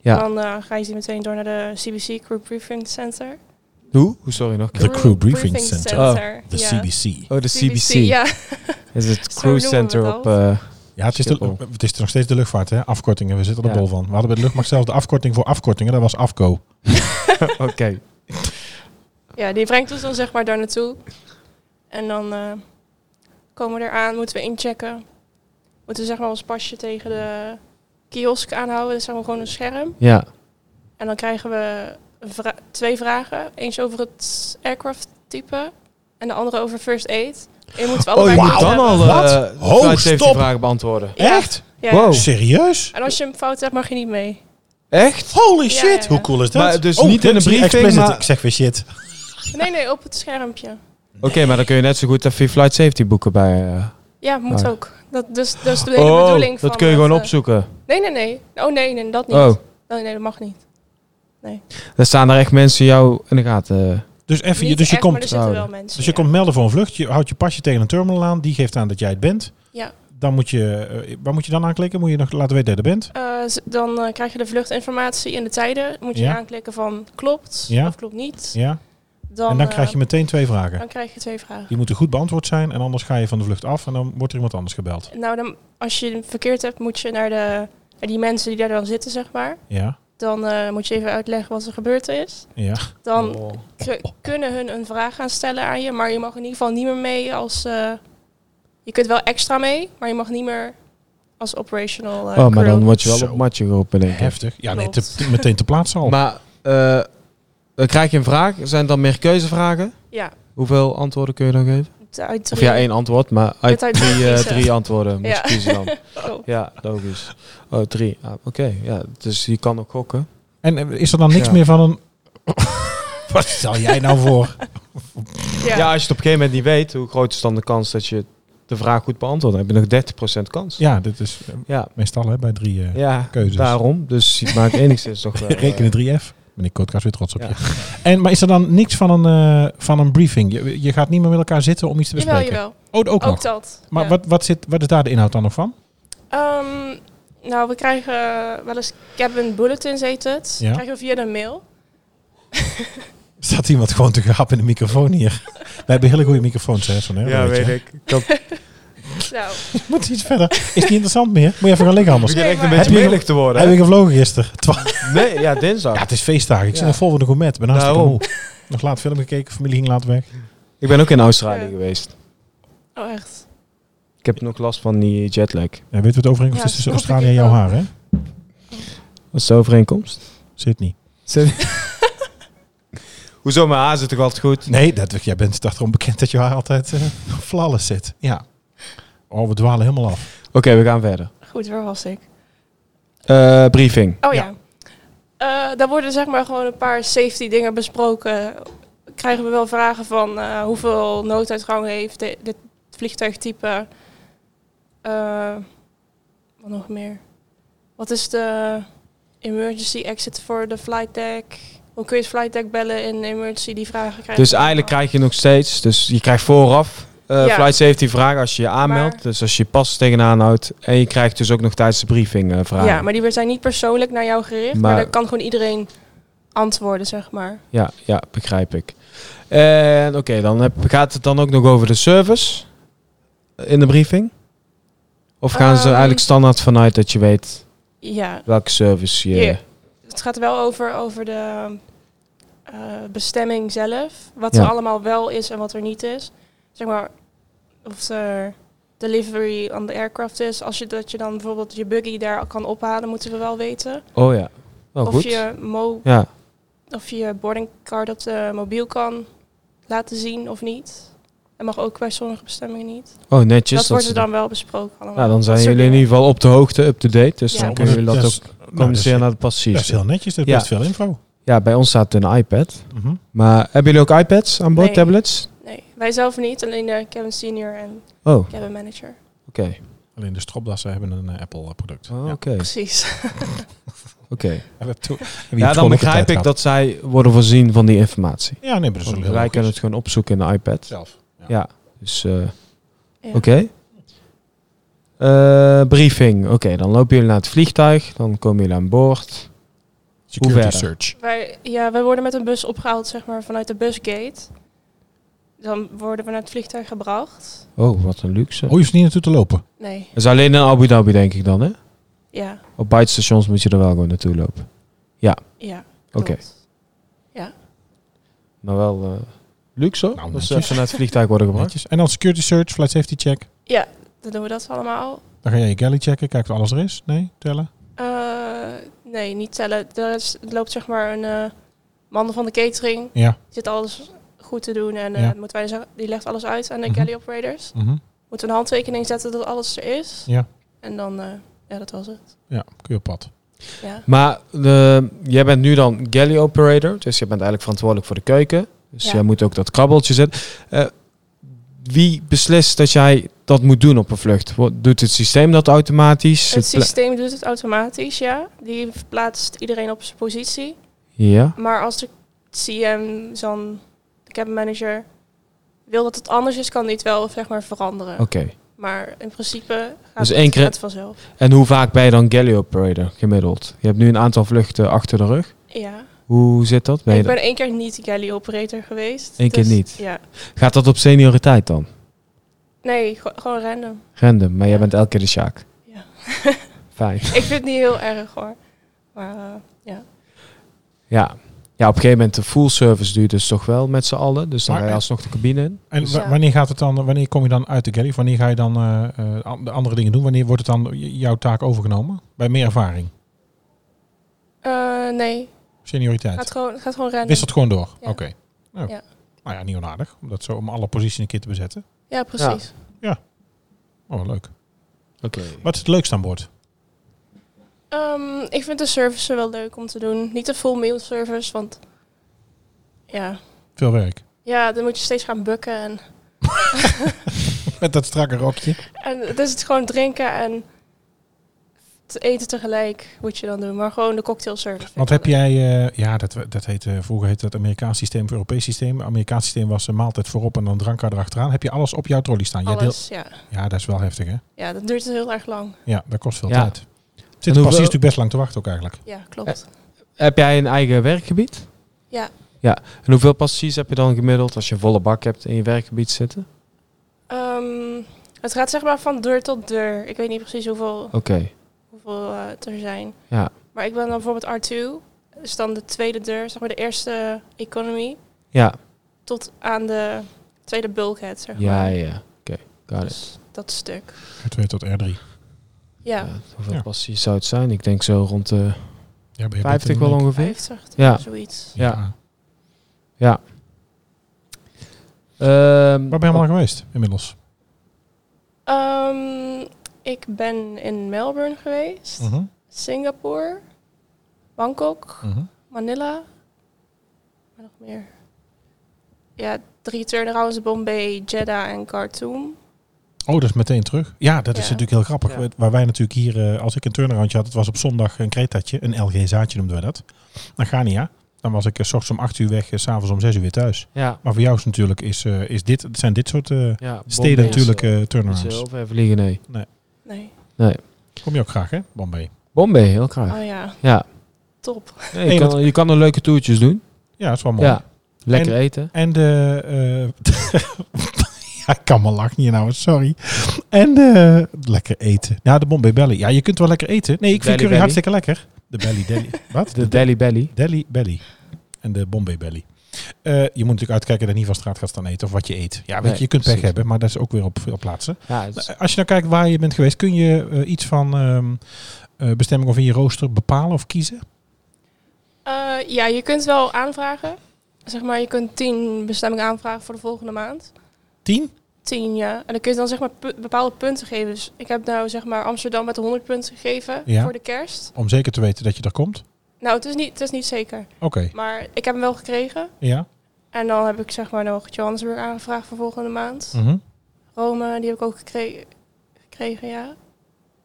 B: Ja.
D: Dan eh rijdt hij meteen door naar de CBC Crew Briefing Center.
B: Hoe? Hoe, sorry, nog een
A: De
B: keer.
A: Crew Briefing Center. De
D: ja.
A: CBC.
B: Oh, de CBC.
D: Ja,
B: Is het
D: Zo
B: Crew
D: noemen we
B: Center
D: het
B: op...
D: al.
B: eh,
A: Ja, het is, de,
B: Schiphol.
A: het is nog steeds de luchtvaart, hè? Afkortingen, we zitten er
B: Ja.
A: bol van. We hadden bij de luchtmacht zelfs de afkorting voor afkortingen, dat was AFCO.
B: Oké.
D: Ja, die brengt ons dan zeg maar daar naartoe. En dan eh, komen we eraan, moeten we inchecken. Moeten we zeg maar ons pasje tegen de kiosk aanhouden. Dus zeg maar gewoon een scherm.
B: Ja.
D: En dan krijgen we een vra- twee vragen. Eentje over het aircraft type en de andere over first aid. En je moet we
B: Oh,
D: allebei
B: je
A: wauw.
B: moet
D: goed
B: dan
D: hebben.
B: al
A: Wat?
B: eh
A: Ho,
B: flight safety
A: stop.
B: vragen beantwoorden.
D: Ja.
A: Echt?
D: Ja.
B: Wow.
A: Oh. Serieus?
D: En als je hem fout hebt, mag je niet mee.
B: Echt?
A: Holy
D: Ja,
A: shit,
D: ja.
A: hoe cool is dat?
B: Maar dus niet in
A: ik
B: de
A: zie
B: briefing,
A: explicit.
B: maar-
A: Ik zeg weer shit.
D: Nee, nee, op het schermpje.
B: Oké, maar dan kun je net zo goed even je flight safety boeken bij... eh,
D: Ja, moet
B: Ah.
D: ook. Dat, dus, dat is de hele
A: Oh,
D: bedoeling
B: Oh,
D: van...
B: dat kun je gewoon
D: eh,
B: opzoeken.
D: Nee, nee, nee. Oh, nee, nee, dat niet.
B: Oh,
D: Nee, nee, dat mag niet.
B: dan staan er echt mensen jou in de gaten. eh.
A: Dus, even, je-
D: Niet
A: dus, je
D: echt,
A: komt,
D: Maar er zitten wel
B: Oh,
D: mensen.
A: dus je
D: ja.
A: komt melden voor een vlucht, je houdt je pasje tegen een terminal aan, die geeft aan dat jij het bent.
D: Ja.
A: Dan moet je, eh, waar moet je dan aanklikken? Moet je nog laten weten dat je er bent?
D: Eh, z- dan eh, krijg je de vluchtinformatie en de tijden. Moet je
A: Ja.
D: aanklikken van klopt
A: Ja.
D: of klopt niet.
A: Ja.
D: Dan,
A: en dan
D: eh,
A: krijg je meteen twee vragen.
D: dan krijg je twee vragen.
A: Die moeten goed beantwoord zijn en anders ga je van de vlucht af en dan wordt er iemand anders gebeld.
D: Nou, dan, als je het verkeerd hebt, moet je naar, de, naar die mensen die daar dan zitten, zeg maar.
A: Ja.
D: Dan eh, moet je even uitleggen wat er gebeurd is.
A: Ja.
D: Dan
B: Oh.
D: k- kunnen hun een vraag gaan stellen aan je, maar je mag in ieder geval niet meer mee als... eh, je kunt wel extra mee, maar je mag niet meer als operational eh,
B: Oh, maar
D: crew.
B: dan word je wel
A: Zo.
B: op matje geroepen, denk ik.
A: Heftig. Ja, nee, te,
D: Klopt.
A: te- meteen te plaatsen al.
B: Maar eh, dan krijg je een vraag. Zijn het dan meer keuzevragen?
D: Ja,
B: Hoeveel antwoorden kun je dan geven?
D: uit
B: Of
D: drie.
B: ja, één antwoord, maar uit
D: Met uit
B: drie,
D: drie
B: eh,
D: kiezen.
B: drie antwoorden moet
D: Ja.
B: je kiezen dan.
D: Oh.
B: Ja, logisch. Oh, drie. Ah, Oké, ja, dus je kan ook gokken.
A: En eh, is er dan niks
B: Ja.
A: meer van een... Wat stel jij nou voor?
B: Ja.
D: ja.
B: als je het op een gegeven moment niet weet, hoe groot is dan de kans dat je de vraag goed beantwoordt? Dan heb je nog 30% kans.
A: Ja, dit is eh,
B: ja.
A: meestal hè, bij drie eh
B: Ja, Dus
A: keuzes.
B: daarom. Dus maar het enigszins is toch wel... eh,
A: rekenen 3F. ben ik Kootkaas weer trots op je. En, maar is er dan niks van een, eh, van een briefing? Je, je gaat niet meer met elkaar zitten om iets te
D: Jawel,
A: bespreken?
D: jawel.
A: Oh, ook,
D: Ook,
A: nog.
D: dat.
A: Maar
D: ja.
A: wat, wat, zit, wat is daar de inhoud dan nog van?
D: Ehm, nou, we krijgen eh, wel eens cabin bulletins, heet het.
A: Ja.
D: Krijgen we via de mail.
A: Staat iemand gewoon te gapen in de microfoon hier? Wij hebben hele goede microfoons, hè? Zo'n, hè? Dat je.
B: ik. Ik had-
D: Nou,
A: Je Moet iets verder. Is niet interessant meer? Moet je even gaan liggen anders.
B: Ik begin echt een
D: maar-
B: beetje
A: Heb je-
B: melig te worden.
A: Heb
B: hè?
A: je gevlogen gisteren? Twa-
B: Nee, ja, dinsdag.
A: ja, het is feestdagen. Ik zit
B: Ja.
A: nog vol van de gourmet. Ben hartstikke
B: Daarom.
A: moe. Nog laat film gekeken. Familie ging laat weg.
B: Ik ben ook in Australië
D: Ja.
B: geweest.
D: oh echt.
B: Ik heb nog last van die jetlag.
A: Ja, weet je wat de overeenkomst
D: Ja,
A: is tussen
D: snap ik
A: Australië en jouw
D: wel.
A: haar, hè?
B: Wat is de overeenkomst?
A: Sydney.
B: Hoezo, mijn haar zit toch altijd goed?
A: Nee, dat, jij bent toch erom bekend dat je haar altijd eh flawless zit. Ja. Oh, we dwalen helemaal af.
B: Oké, we gaan verder.
D: Goed, waar was ik?
B: Eh, briefing.
D: Oh ja.
A: Ja.
D: Eh, daar worden zeg maar gewoon een paar safety dingen besproken. Krijgen we wel vragen van eh, hoeveel nooduitgang heeft di- dit vliegtuigtype? Eh, wat nog meer? Wat is de emergency exit voor de flight deck? Hoe kun je het flight deck bellen in emergency? Die vragen krijgen
B: Dus eigenlijk krijg je nog steeds, dus je krijgt vooraf eh,
D: Ja.
B: flight safety vragen als je je aanmeldt.
D: Maar-
B: Dus als je je pas tegenaan houdt. En je krijgt dus ook nog tijdens de briefing eh, vragen.
D: Ja, maar die zijn niet persoonlijk naar jou gericht. Maar,
B: Maar-
D: daar kan gewoon iedereen antwoorden, zeg maar.
B: Ja, ja, begrijp ik. En oké, dan heb, gaat het dan ook nog over de service in de briefing? Of gaan ze
D: Ehm.
B: eigenlijk standaard vanuit dat je weet
D: Ja,
B: welke service je...
D: Ja. Het gaat wel over, over de eh, bestemming zelf. Wat
B: Ja.
D: er allemaal wel is en wat er niet is. Zeg maar, of er delivery on the aircraft is. Als je, dat je dan bijvoorbeeld je buggy daar kan ophalen, moeten we wel weten.
B: Oh ja, wel
D: of,
B: goed.
D: je mo
B: Ja,
D: of je boarding card op de mobiel kan laten zien of niet. En mag ook bij sommige bestemmingen niet.
B: oh netjes.
D: dat wordt
B: ze
D: er dan wel besproken allemaal.
B: Ja, dan
D: Dat
B: zijn
D: soort
B: jullie in
D: dingen.
B: ieder geval op de hoogte, up to date. Dus
D: Ja.
B: dan
D: Ja,
B: kunnen jullie dat
A: is-
B: ook
A: nou, dat
B: communiceren naar de
A: is, dat
B: passagiers.
A: is heel netjes. Dat is
B: Ja.
A: best veel info.
B: Ja, bij ons staat een iPad.
A: Mhm.
B: Maar hebben jullie ook iPads aan boord,
D: Nee.
B: tablets?
D: Nee, wij zelf niet. Alleen de cabin senior en
B: Oh, oké.
D: cabin manager.
A: Alleen de stropdassen hebben een eh, Apple-product.
B: Oh,
A: ja.
B: Oké, oké.
D: Precies.
A: We hebben to- we hebben
B: Ja,
A: hier
B: dan
A: school op de
B: begrijp
A: tijd gehad.
B: ik dat zij worden voorzien van die informatie.
A: Ja, nee, maar dat is
B: Want wij kunnen het gewoon opzoeken in de iPad.
A: zelf. Ja.
B: Ja, dus eh,
D: Ja.
B: oké. Eh, briefing. Oké, dan lopen jullie naar het vliegtuig. Dan komen jullie aan boord.
A: Security
B: verder?
A: search.
D: Wij, ja, wij worden met een bus opgehaald, zeg maar, vanuit de busgate. Dan worden we naar het vliegtuig gebracht.
B: Oh, wat een luxe.
A: Oh, je hoeft niet naartoe te lopen.
D: Nee,
B: Dat is alleen in Abu Dhabi, denk ik dan, hè?
D: ja,
B: Op beide stations moet je er wel gewoon naartoe lopen.
D: ja.
B: Oké.
D: klopt.
B: Maar wel eh, luxe, hoor.
A: Nou,
B: dat eh, ze
A: netjes.
B: even naar het vliegtuig worden gebracht.
A: Netjes. En dan security search, flight safety check.
D: Ja, dan doen we dat allemaal.
A: Dan ga jij je galley checken, kijken of alles er is. Nee, tellen.
D: Eh, nee, niet tellen. Er is- er loopt zeg maar een eh man van de catering.
A: Ja.
D: Die zit alles goed te doen en eh,
A: Ja.
D: moeten wij zeggen, die legt alles uit aan de
A: Mhm.
D: galley operators.
A: Mhm.
D: Moeten we een handtekening zetten dat alles er is.
A: Ja.
D: En dan, eh, ja, dat was het.
A: Ja, kun je op pad.
D: Ja.
B: Maar eh, jij bent nu dan galley operator. Dus je bent eigenlijk verantwoordelijk voor de keuken. Dus
D: Ja.
B: jij moet ook dat krabbeltje zetten. Eh, wie beslist dat jij dat moet doen op een vlucht? Wat- Doet het systeem dat automatisch?
D: Het
B: pla-
D: systeem doet het automatisch, ja. Die plaatst iedereen op zijn positie.
B: Ja.
D: Maar als de CM, zo'n de cabin manager, wil dat het anders is, kan die het wel zeg maar veranderen.
B: Oké.
D: Maar in principe gaat
B: Dus
D: het,
B: één keer-
D: gaat het vanzelf.
B: En hoe vaak ben je dan galley operator gemiddeld? Je hebt nu een aantal vluchten achter de rug.
D: Ja.
B: Hoe zit dat? Ben je
D: ik ben één keer niet galley operator geweest. dus
B: Eén keer niet?
D: Ja.
B: dat- Gaat dat op senioriteit dan?
D: Nee, go- gewoon random.
B: Random, maar jij
D: Ja.
B: bent elke keer de Sjaak.
D: Ja.
B: Fijn.
D: ik vind het niet heel erg hoor. Maar eh, ja.
B: Ja. ja, op een gegeven moment de full service duurt dus toch wel met z'n allen. Dus dan
A: Maar-
B: ga je alsnog de cabine in.
A: En
D: Dus
A: wa-
D: ja.
A: wanneer gaat het dan? Wanneer kom je dan uit de galley? Wanneer ga je dan eh, eh, an- de andere dingen doen? Wanneer wordt het dan j- jouw taak overgenomen? Bij meer ervaring,
D: Eh, nee, gaat
A: senioriteit.
D: gewoon, gaat gewoon random.
A: Wisselt gewoon door.
D: Ja.
A: Oké. Nou.
D: Ja.
A: nou ja, niet onaardig. Om dat zo om alle posities een keer te bezetten.
D: Ja, precies.
A: Oh, leuk.
B: Oké.
A: Wat is het leukste aan boord?
D: Ehm, ik vind de service wel leuk om te doen. Niet de full meal service, want ja,
A: Veel werk.
D: ja dan moet je steeds gaan bukken. En,
A: Met dat strakke rokje.
D: en het is het gewoon drinken en te eten tegelijk moet je dan doen. Maar gewoon de cocktailservice.
A: Want heb jij, eh, ja, dat, dat heet, eh, vroeger heette dat Amerikaans systeem of Europees systeem. Amerikaans systeem was een maaltijd voorop en dan dranka erachteraan. Heb je alles op jouw trolley staan? Jij deelt-
D: Alles, ja.
A: ja, dat is wel heftig, hè?
D: Ja, dat duurt dus heel erg lang.
A: Ja, dat kost veel
B: Ja.
A: tijd.
B: hoeveel-
A: Zit er precies natuurlijk best lang te wachten ook eigenlijk.
D: Ja, klopt.
B: Heb jij een eigen werkgebied?
D: Ja.
B: Ja. En hoeveel passagiers heb je dan gemiddeld als je een volle bak hebt in je werkgebied zitten?
D: Ehm, het gaat zeg maar van deur tot deur. Ik weet niet precies hoeveel,
B: Oké.
D: hoeveel eh, er zijn.
B: Ja.
D: Maar ik ben dan bijvoorbeeld R2. Dat is dan de tweede deur, zeg maar de eerste economy.
B: Ja.
D: Tot aan de tweede bulkhead, zeg
B: Ja,
D: maar.
B: ja. Oké. Got it.
D: Dus dat stuk.
A: R2 tot R3.
D: Ja,
B: Ja, hoeveel
A: Ja.
B: passagiers zou het zijn? Ik denk zo rond de
A: Ja, ben je
B: 50
A: beter
B: wel
A: dan ik?
B: ongeveer.
D: 50
B: Ja.
D: zoiets.
B: Ja.
A: Ja.
B: Ehm,
A: Waar ben je allemaal geweest inmiddels?
D: Ehm, ik ben in Melbourne geweest,
A: Mhm,
D: Singapore, Bangkok,
A: mhm.
D: Manila. En nog meer. Ja, drie turnarounds, Bombay, Jeddah en Khartoum.
A: Oh, dat is meteen terug. Ja, dat is
D: Ja.
A: natuurlijk heel grappig.
B: Ja.
A: Waar wij natuurlijk hier, eh, als ik een turnaroundje had, het was op zondag een kretaatje, een LG zaadje noemden we dat. Naar Ghania. Dan was ik eh, s ochtends om 8 uur weg, eh, s s'avonds om 6 uur weer thuis.
B: ja.
A: Maar voor jou is natuurlijk, is, eh, is dit, zijn dit soort eh,
B: ja.
A: steden
B: Bombay
A: natuurlijk
B: is,
A: eh,
B: eh, Niet
A: turnarounds.
B: zo heel ver vliegen, nee.
D: Nee.
A: Kom je ook graag, hè, Bombay?
B: Bombay, heel graag.
D: Oh ja,
B: Ja.
D: top.
B: Nee, je, kan, je kan er leuke toertjes doen.
A: Ja, dat is wel mooi.
B: Ja. Lekker eten.
A: En de... eh, ja, ik kan mijn lach niet nou, sorry. En de... Lekker eten. Ja, de Bombay Belly. Ja, je kunt wel lekker eten. Nee, ik
B: Belly
A: vind curry
B: belly.
A: hartstikke lekker. De Belly Deli. Wat?
B: De Delhi Belly.
A: Delhi Belly. En de Bombay Belly. Eh, je moet natuurlijk uitkijken dat je niet van straat gaat staan eten of wat je eet. Ja, weet
B: Nee,
A: je, je kunt pech
B: precies.
A: hebben, maar dat is ook weer op veel plaatsen.
B: Ja, het is-
A: Als je nou kijkt waar je bent geweest, kun je eh, iets van ehm, eh, bestemming of in je rooster bepalen of kiezen?
D: Eh, ja, je kunt wel aanvragen. Zeg maar, je kunt tien bestemmingen aanvragen voor de volgende maand.
A: Tien?
D: Tien, ja. En dan kun je dan zeg maar pu- bepaalde punten geven. Dus ik heb nou zeg maar Amsterdam met 100 punten gegeven
A: Ja.
D: voor de kerst.
A: Om zeker te weten dat je er komt?
D: Nou, het is, niet, het is niet zeker.
A: Oké,
D: Maar ik heb hem wel gekregen.
A: ja.
D: En dan heb ik zeg maar nog Johannesburg aangevraagd voor volgende maand.
B: Hm.
A: Mhm.
D: Rome, die heb ik ook gekregen, gekregen ja.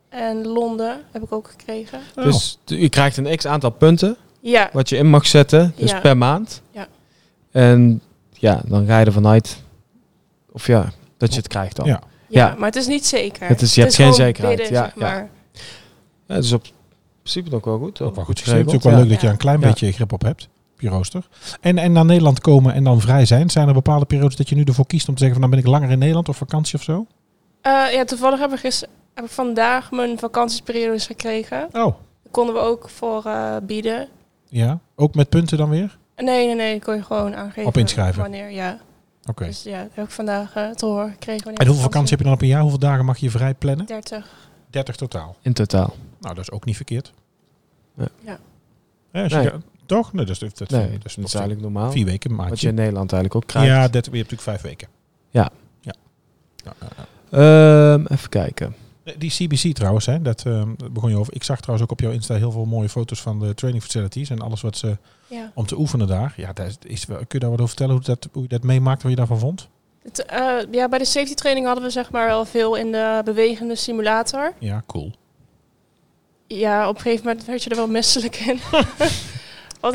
D: En Londen heb ik ook gekregen.
A: Oh.
B: Dus t- je krijgt een x aantal punten
D: Ja,
B: wat je in mag zetten. Dus
D: Ja.
B: per maand.
D: Ja.
B: En ja, dan ga je ervan uit. Of ja, dat je het krijgt dan.
A: Ja.
B: Ja.
D: ja,
B: Ja.
D: maar het is niet zeker.
B: Het is- je hebt geen
D: gewoon
B: zekerheid,
D: bidden,
B: ja,
D: zeg
B: ja.
D: maar.
B: dat is dus op principe nog wel goed.
A: Ook
B: Hoor.
A: wel goed systeem. Het is ook
B: Geregeld,
A: wel
B: ja.
A: leuk dat je daar een klein
B: Ja.
A: beetje grip op hebt. op Je rooster. En, en naar Nederland komen en dan vrij zijn. Zijn er bepaalde periodes dat je nu ervoor kiest om te zeggen van dan ben ik langer in Nederland of vakantie of zo?
D: Eh, ja, toevallig heb ik, gis- heb ik vandaag mijn vakantieperiodes gekregen.
A: Oh,
D: Daar konden we ook voor eh, bieden.
A: ja. Ook met punten dan weer?
D: Nee, nee, nee, kon je gewoon aangeven.
A: Op inschrijven.
D: Wanneer, ja.
A: Oké.
D: Dus ja, dat heb ik vandaag eh te horen gekregen. wanneer
A: En hoeveel
D: ik
A: vakantie heb je dan op een jaar? Hoeveel dagen mag je vrij plannen?
D: 30.
A: 30 totaal.
B: In totaal.
A: Nou, dat is ook niet verkeerd.
B: Ja.
D: Ja.
A: Hè, als je
B: Nee.
A: ga- toch? Nee, dat is, dat, dat-
B: Nee,
A: dat is nog
B: eigenlijk normaal.
A: vier weken een
B: Wat je in
A: maandje.
B: Nederland eigenlijk ook krijgt.
A: Ja, dat, je hebt natuurlijk vijf weken.
B: Ja.
A: ja. Ja, ja, ja.
B: Ehm, even kijken.
A: Die CBC trouwens, hè, dat ehm, daar begon je over. Ik zag trouwens ook op jouw Insta heel veel mooie foto's van de training facilities en alles wat ze
D: Ja.
A: om te oefenen daar. Ja, dat is, is wel- kun je daar wat over vertellen hoe, dat, hoe je dat meemaakt, wat je daarvan vond?
D: Het, eh, ja, bij de safety training hadden we zeg maar wel veel in de bewegende simulator.
A: Ja, cool.
D: Ja, op een gegeven moment werd je er wel misselijk in. Want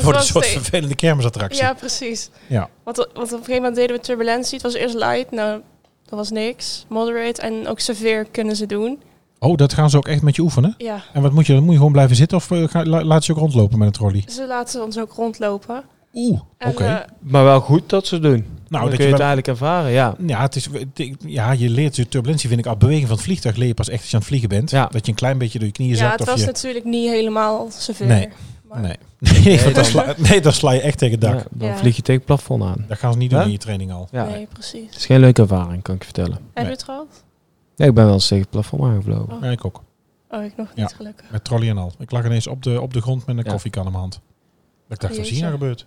A: Het
D: het
A: wordt een
D: was
A: soort
D: steeds-
A: vervelende kermisattractie.
D: Ja, precies.
A: Ja.
D: Want, want op een gegeven moment deden we turbulentie. Het was eerst light, nou, dat was niks. Moderate en ook severe kunnen ze doen.
A: Oh, dat gaan ze ook echt met je oefenen?
D: Ja,
A: En wat moet je dan? Moet je gewoon blijven zitten of eh, ga- la- laat ze je ook rondlopen met een trolley?
D: ze laten ons ook rondlopen.
A: Oeh, oké.
D: En, eh,
B: Maar wel goed dat ze doen. Nou,
A: dat
B: dan kun
A: je
B: je het
A: wel-
B: eigenlijk ervaren, ja.
A: Ja, het is, ja, je leert de turbulentie, vind ik, al beweging van het vliegtuig leer je pas echt als je aan het vliegen bent.
B: Ja.
A: Dat je een klein beetje door je knieën
D: ja,
A: zakt.
D: het
A: of
D: was
A: je,
D: natuurlijk niet helemaal severe.
A: Nee.
D: Maar
A: Nee, nee,
B: Nee,
A: want dan
B: dan-
A: sla, nee, dan sla je echt tegen het dak.
B: Ja, dan
D: Ja.
B: vlieg je tegen het plafond aan.
A: Dat gaan ze niet doen
B: Hè?
A: in je training al.
B: Ja.
D: nee, precies.
B: Het is geen leuke ervaring, kan ik je vertellen.
D: Heb
A: Nee.
D: je het gehad?
B: Nee, ik ben wel eens tegen het plafond aangevlogen.
D: Oh.
A: Ja, ik ook.
D: Oh, ik nog
A: Ja.
D: niet gelukkig.
A: Met trolley en al. Ik lag ineens op de, op de grond met een
B: Ja.
A: koffiekan in mijn hand. Ik dacht, wat is hier
D: Jeetje.
A: nou gebeurd?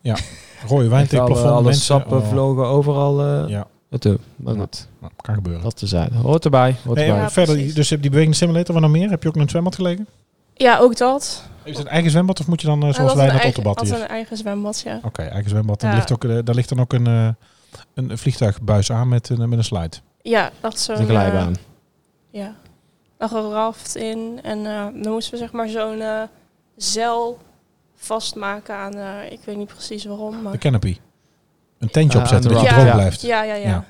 A: Ja, rode wijn
B: Echt
A: tegen
B: alle-
A: het plafond.
B: alle
A: mensen,
B: sappen
A: oh,
B: vlogen overal. eh
A: Ja.
B: wat toe. Maar
A: Ja.
B: goed,
A: nou, kan gebeuren.
B: dat te zijn. Hoort erbij. Hoort
A: Nee,
B: erbij.
A: maar
D: Ja,
A: verder,
D: precies.
A: dus je hebt die bewegende simulator, wat nog meer? Heb je ook in een zwembad gelegen?
D: Ja, ook dat.
A: Is het een eigen zwembad of moet je dan, eh, zoals
D: Hij had
A: wij,
D: een
A: naar het
D: eigen-
A: Otterbad
D: had
A: hier?
D: een eigen zwembad, ja.
A: Oké, eigen zwembad. En
D: Ja.
A: er ligt ook, eh, daar ligt dan ook een, eh, een vliegtuigbuis aan eh, met, een met een slide.
D: Ja, dat is zo'n...
B: De glijbaan.
D: eh, ja. Nou, een geraft in. En eh, dan moesten we zeg maar zo'n eh, zeil vastmaken aan, eh, ik weet niet precies waarom. Maar...
A: De canopy. Een tentje
B: Ah,
A: opzetten
B: aan
A: dat
D: de
A: je
D: rock.
A: droog
B: Ja.
A: blijft.
D: Ja, ja, ja.
A: Ja.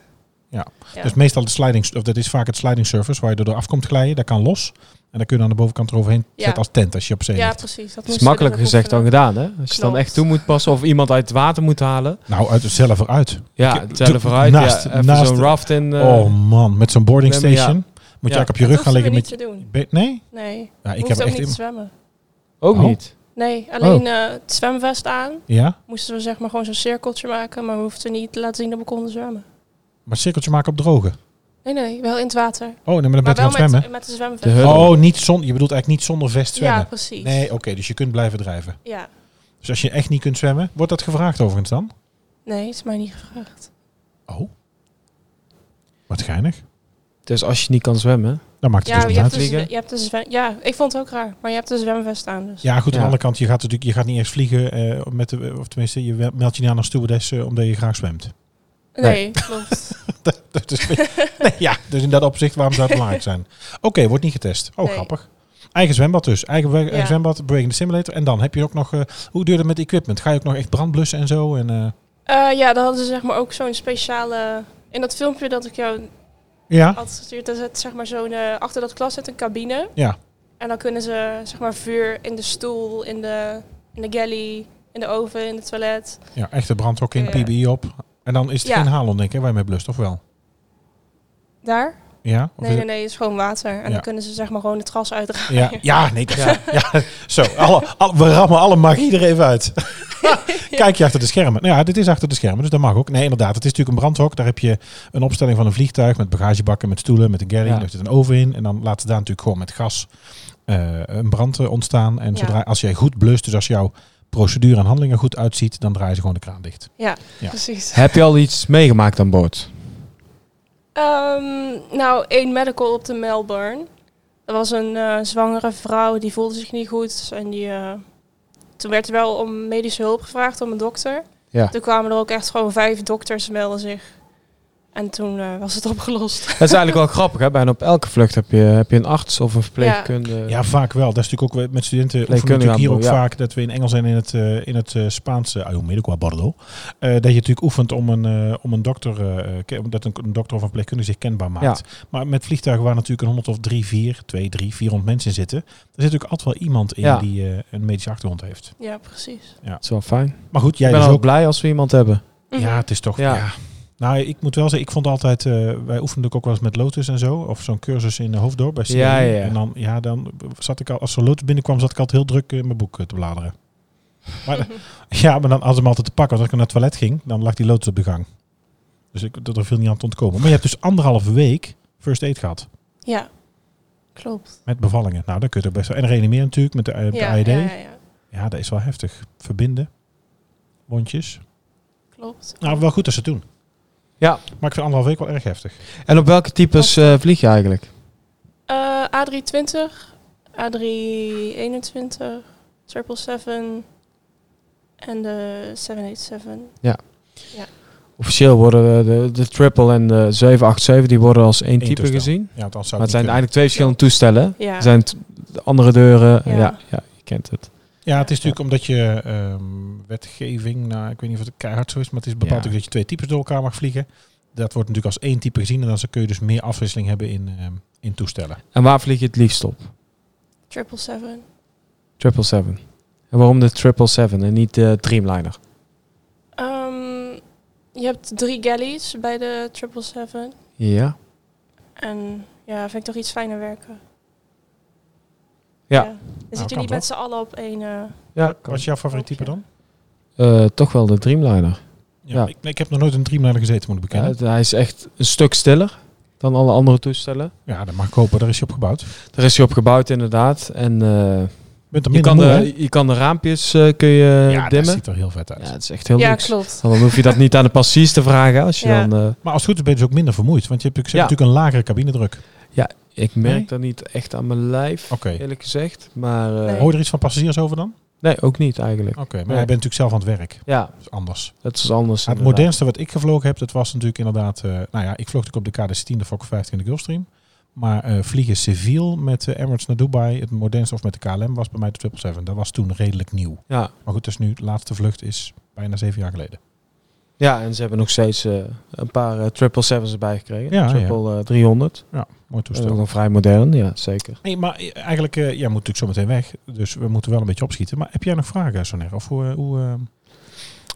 A: Ja.
D: Ja.
A: Dus meestal de sliding, of dat is vaak het sliding surface waar je door af komt glijden. Dat kan los. En dan kun je aan de bovenkant eroverheen
D: Ja.
A: zetten als tent als je op zee
D: Ja,
A: ligt.
D: precies. Dat
B: Het is
D: moesten we
B: makkelijker
D: dus ook
B: gezegd dan
D: oefenen.
B: gedaan, hè? Als je dan
D: Klopt.
B: echt toe moet passen of iemand uit het water moet halen.
A: Nou, uit, zelf eruit.
B: Ja,
A: Ik-
B: tellen
A: doe-
B: vooruit.
A: naast-
B: ja, even
A: naast-
B: zo'n raft in. eh,
A: oh man, met zo'n boarding
B: Nee, maar ja.
A: station moet
B: Ja.
A: je eigenlijk op je
D: Dat
A: rug gaan
D: hoefden we
A: liggen
D: niet
A: met
D: te doen.
A: je... Nee?
D: Nee,
A: Ja, ik heb
D: ik hoefde
A: er echt...
D: ook
A: Oh.
D: niet te
A: in-
D: zwemmen.
B: Ook
A: Oh.
B: niet.
D: Nee, alleen eh, het zwemvest aan.
A: Ja?
D: Moesten we zeg maar gewoon zo'n cirkeltje maken, maar we hoefden niet te laten zien dat we konden zwemmen.
A: Maar cirkeltje maken op droge.
D: Nee, nee, wel in het water.
A: Oh, nee, maar dan ben
D: maar
A: je aan
D: wel
A: het zwemmen.
D: met, met de
B: De
D: zwemvest.
B: hut.
A: Oh, niet zon, je bedoelt eigenlijk niet zonder vest zwemmen.
D: ja, precies.
A: nee, oké, dus je kunt blijven drijven.
D: Ja.
A: Dus als je echt niet kunt zwemmen, wordt dat gevraagd overigens dan?
D: Nee, is mij niet gevraagd.
A: Oh. Wat geinig.
B: Dus als je niet kan zwemmen.
A: Dan maakt het
D: Ja,
A: dus
D: je
A: niet uit.
D: hebt, dus,
B: vliegen?
D: je hebt dus zwem- ja, ik vond het ook raar, maar je hebt een zwemvest aan. Dus.
A: Ja, goed, aan
B: Ja.
A: de andere kant, je gaat natuurlijk je gaat niet eerst vliegen, eh, met de, of tenminste, je wel- meldt je niet aan als stewardess eh, omdat je graag zwemt.
D: Nee, klopt.
A: dat, dat is, nee, ja, dus in dat opzicht, waarom zou het belangrijk zijn? Oké, wordt niet getest. Oh,
D: Nee.
A: grappig. Eigen zwembad dus. Eigen, we- eigen
D: Ja.
A: zwembad, Breaking the Simulator. En dan heb je ook nog, eh, hoe duurde het met equipment? Ga je ook nog echt brand blussen en zo? En, eh,
D: Eh, ja, dan hadden ze zeg maar ook zo'n speciale... In dat filmpje dat ik jou
A: ja,
D: had gestuurd, daar zit zeg maar zo'n... eh, achter dat glas zit een cabine.
A: Ja.
D: En dan kunnen ze zeg maar vuur in de stoel, in de, in de galley, in de oven, in het toilet.
A: ja, echte brandhok in,
D: Ja.
A: PBI op. En dan is het
D: Ja.
A: geen halon, denk ik, hè, waar je mee blust, of wel?
D: Daar?
A: Ja? Of is
D: Nee, nee,
A: het-
D: nee, het is gewoon water. En
A: Ja.
D: dan kunnen ze zeg maar gewoon het gas uitdraaien.
A: Ja, ja, nee, dat- ja. Zo, alle, alle- we rammen alle magie er even uit. Kijk je achter de schermen. Nou ja, dit is achter de schermen, dus dat mag ook. Nee, inderdaad, het is natuurlijk een brandhok. Daar heb je een opstelling van een vliegtuig met bagagebakken, met stoelen, met een galley.
B: Ja.
A: Daar zit een oven in. En dan laat ze daar natuurlijk gewoon met gas eh, een brand eh, ontstaan. En
D: Ja.
A: zodra, als jij goed blust, dus als jouw procedure en handelingen goed uitziet, dan draaien ze gewoon de kraan dicht.
D: Ja,
A: Ja.
D: precies.
B: Heb je al iets meegemaakt aan boord?
D: Ehm, nou, één medical op de Melbourne. Dat was een eh, zwangere vrouw, die voelde zich niet goed. En die, eh, toen werd er wel om medische hulp gevraagd, om een dokter.
B: Ja.
D: Toen kwamen er ook echt gewoon vijf dokters melden zich. En toen eh, was het opgelost.
B: Dat is eigenlijk wel grappig, hè? Bijna op elke vlucht heb je, heb je een arts of een verpleegkundige.
A: Ja, vaak wel. Dat is natuurlijk ook we- met studenten oefenen we
B: Eh, kunnen
A: natuurlijk hier
B: aan
A: ook vaak
B: boord, ja.
A: dat we in Engels en in het, eh, in het eh, Spaans, uh, qua bordo, eh, dat je natuurlijk oefent om een, eh, om een dokter, eh, ke- dat een, een dokter of een verpleegkundige zich kenbaar maakt. Maar met vliegtuigen waar natuurlijk een honderd of drie, vier, twee, drie, vierhonderd mensen in zitten, er zit natuurlijk altijd wel iemand in
B: Ja.
A: die eh, een medische achtergrond heeft.
D: ja, precies.
B: Dat is wel fijn.
A: Maar goed, jij
B: ik ben
A: dus
B: al
A: ook.
B: blij als we iemand hebben.
D: Mhm.
A: Ja, het is toch. Ja.
B: Ja.
A: Mhm. Nou, ik moet wel zeggen, ik vond altijd, eh, wij oefenden ook wel eens met Lotus en zo, of zo'n cursus in Hoofddorp bij CNI.
B: Ja, ja, ja.
A: En dan, ja, dan zat ik al, als er Lotus binnenkwam, zat ik altijd heel druk eh, in mijn boek eh, te bladeren. Maar, ja, maar dan had hem altijd te pakken, want als ik naar het toilet ging, dan lag die Lotus op de gang. Dus ik, dat er veel niet aan te ontkomen. Maar je hebt dus anderhalve week first aid gehad
D: Ja, klopt.
A: met bevallingen. Nou, dan kun je er best wel. En reanimeren natuurlijk met de, eh, de
D: ja,
A: AED.
D: ja,
A: Ja,
D: ja, ja,
A: dat is wel heftig. Verbinden, wondjes.
D: klopt.
A: Nou, wel goed dat ze het doen.
B: Ja.
A: Maar ik vind anderhalve week wel erg heftig.
B: En op welke types eh, vlieg je eigenlijk?
D: Eh, A320, A321, 777 en de 787.
B: Officieel worden de, de triple en de 787 die worden als één
A: Eén
B: type
A: toestel.
B: gezien.
A: Ja, dan zou ik
B: Maar het zijn
A: niet kunnen.
B: eigenlijk twee verschillende toestellen. hè?
D: Ja.
B: Er zijn t- de andere deuren. Ja.
D: Ja.
B: Ja, je kent het.
A: Ja, het is natuurlijk omdat je ehm, wetgeving, nou, ik weet niet of het keihard zo is, maar het is bepaald
B: Ja.
A: ook dat je twee types door elkaar mag vliegen. Dat wordt natuurlijk als één type gezien en dan kun je dus meer afwisseling hebben in, ehm, in toestellen.
B: En waar vlieg je het liefst op?
D: 777.
B: 777. En waarom de 777 en niet de Dreamliner?
D: Ehm, je hebt drie galleys bij de 777.
B: Ja.
D: En ja, vind ik toch iets fijner werken.
B: Ja.
D: Dan zit je
A: kan
D: niet
A: toch?
D: met z'n allen op één... eh,
B: ja
A: Wat is jouw favoriet type dan?
B: Eh, toch wel de Dreamliner.
A: Ja,
B: Ja.
A: Ik, ik heb nog nooit in een Dreamliner gezeten, moet ik
B: Ja,
A: bekennen.
B: het- hij is echt een stuk stiller dan alle andere toestellen.
A: Ja, dat mag ik hopen, daar is je op gebouwd. Je
B: Daar is hij op gebouwd inderdaad. En eh,
A: bent er
B: je,
A: minder
B: kan
A: moe, hè?
B: de, je kan de raampjes eh, kun je
A: Ja, dat
B: dimmen.
A: ziet er heel vet uit.
B: Ja, het is echt heel
D: ja,
B: luxe.
D: klopt.
B: Dan hoef je dat niet aan de passies te vragen. Als je
D: Ja.
B: dan, eh,
A: Maar als het goed is ben je dus ook minder vermoeid, want je hebt, natuurlijk- ze
B: Ja.
A: hebben natuurlijk een lagere cabinedruk.
B: ik merk
A: Nee?
B: dat niet echt aan mijn lijf,
A: Oké.
B: eerlijk gezegd. Maar eh,
D: Nee.
A: Hoor je er iets van passagiers over dan?
B: nee, ook niet eigenlijk.
A: Oké, maar
B: Nee.
A: jij bent natuurlijk zelf aan het werk.
B: Ja,
A: Dat is anders.
B: dat is anders.
A: Ja, het
B: inderdaad.
A: modernste wat ik gevlogen heb, dat was natuurlijk inderdaad... eh, nou ja, ik vloog natuurlijk op de KDC-10, de Fokker 50 en de Gulfstream. Maar eh, vliegen civiel met eh, Emirates naar Dubai, het modernste of met de KLM, was bij mij de 777. Dat was toen redelijk nieuw.
B: Ja.
A: Maar goed, dus nu de laatste vlucht is bijna zeven jaar geleden.
B: ja, en ze hebben nog steeds eh, een paar eh, 777's erbij gekregen.
A: Ja, ja.
B: Triple eh, 300.
A: Mooi
B: Dat is ook
A: toestel.
B: nog vrij modern, ja, zeker.
A: Hey, maar eh, eigenlijk, eh, jij moet natuurlijk zo meteen weg. Dus we moeten wel een beetje opschieten. Maar heb jij nog vragen, Soner? Of, hoe, eh, hoe, eh,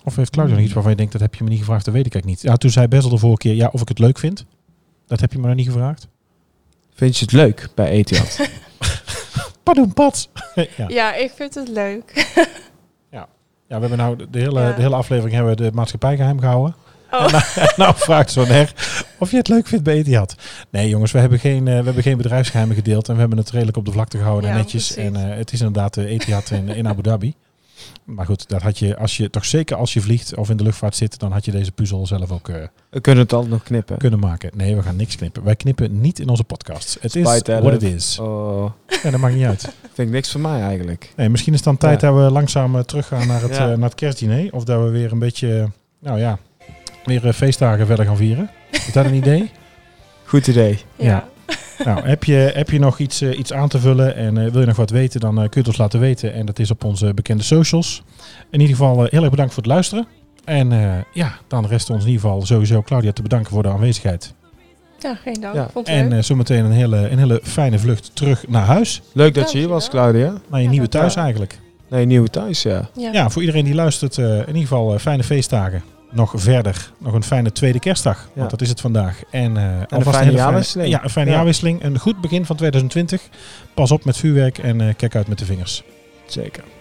A: of heeft Claudia nog iets waarvan je denkt, dat heb je me niet gevraagd? Dat weet ik eigenlijk niet. Ja, toen zei Bessel de vorige keer, ja, of ik het leuk vind. Dat heb je me nog niet gevraagd.
B: Vind je het leuk bij E Etihad?
A: Pardon, pad. ja.
D: Ja, ik vind het leuk.
A: Ja, we hebben nou de- de hele,
D: Ja.
A: de hele aflevering hebben we de maatschappij geheim gehouden.
D: Oh.
A: En nou, nou vraagt zo'n her of je het leuk vindt bij Etihad. Nee jongens, we hebben geen, eh, we hebben geen bedrijfsgeheimen gedeeld. En we hebben het redelijk op de vlakte gehouden en
D: Ja,
A: netjes.
D: precies.
A: En eh, het is inderdaad de Etihad in, in Abu Dhabi. Maar goed, dat had je, als je, toch zeker als je vliegt of in de luchtvaart zit, dan had je deze puzzel zelf ook eh,
B: We kunnen het altijd nog knippen.
A: kunnen maken. Nee, we gaan niks knippen. Wij knippen niet in onze podcasts. Het is
B: Spijt, hè,
A: what it
B: Lev.
A: is.
B: Oh,
A: Ja, dat maakt niet uit.
B: vind ik niks van mij eigenlijk.
A: Nee, misschien is het dan tijd dat we langzaam eh, teruggaan naar het,
B: Ja.
A: eh, naar het kerstdiner. Of dat we weer een beetje, eh, nou ja, weer eh, feestdagen verder gaan vieren. Is dat een idee?
B: Goed idee.
A: Ja. nou, heb je, heb je nog iets, eh, iets aan te vullen en eh, wil je nog wat weten, dan eh, kun je het ons laten weten. En dat is op onze eh, bekende socials. In ieder geval eh, heel erg bedankt voor het luisteren. En eh, ja, dan rest ons in ieder geval sowieso Claudia te bedanken voor de aanwezigheid.
D: Ja, geen dank.
B: Ja.
D: Vond het
A: En
D: leuk.
A: eh, zometeen een hele, een hele fijne vlucht terug naar huis.
B: Leuk dat je hier was, Claudia.
A: Naar je
D: Ja,
A: nieuwe
D: dat-
A: thuis eigenlijk.
B: Nee, nieuw thuis, ja.
D: ja.
A: eh, Ja, voor iedereen die luistert, eh, in ieder geval eh, fijne feestdagen. Nog verder, nog een fijne tweede kerstdag.
B: Ja.
A: Want dat is het vandaag. En, eh, alvast
B: fijne
A: hele
B: jaarwisseling.
A: Ja, een fijne
B: Ja.
A: jaarwisseling. Een goed begin van 2020. Pas op met vuurwerk en eh, kijk uit met de vingers.
B: Zeker.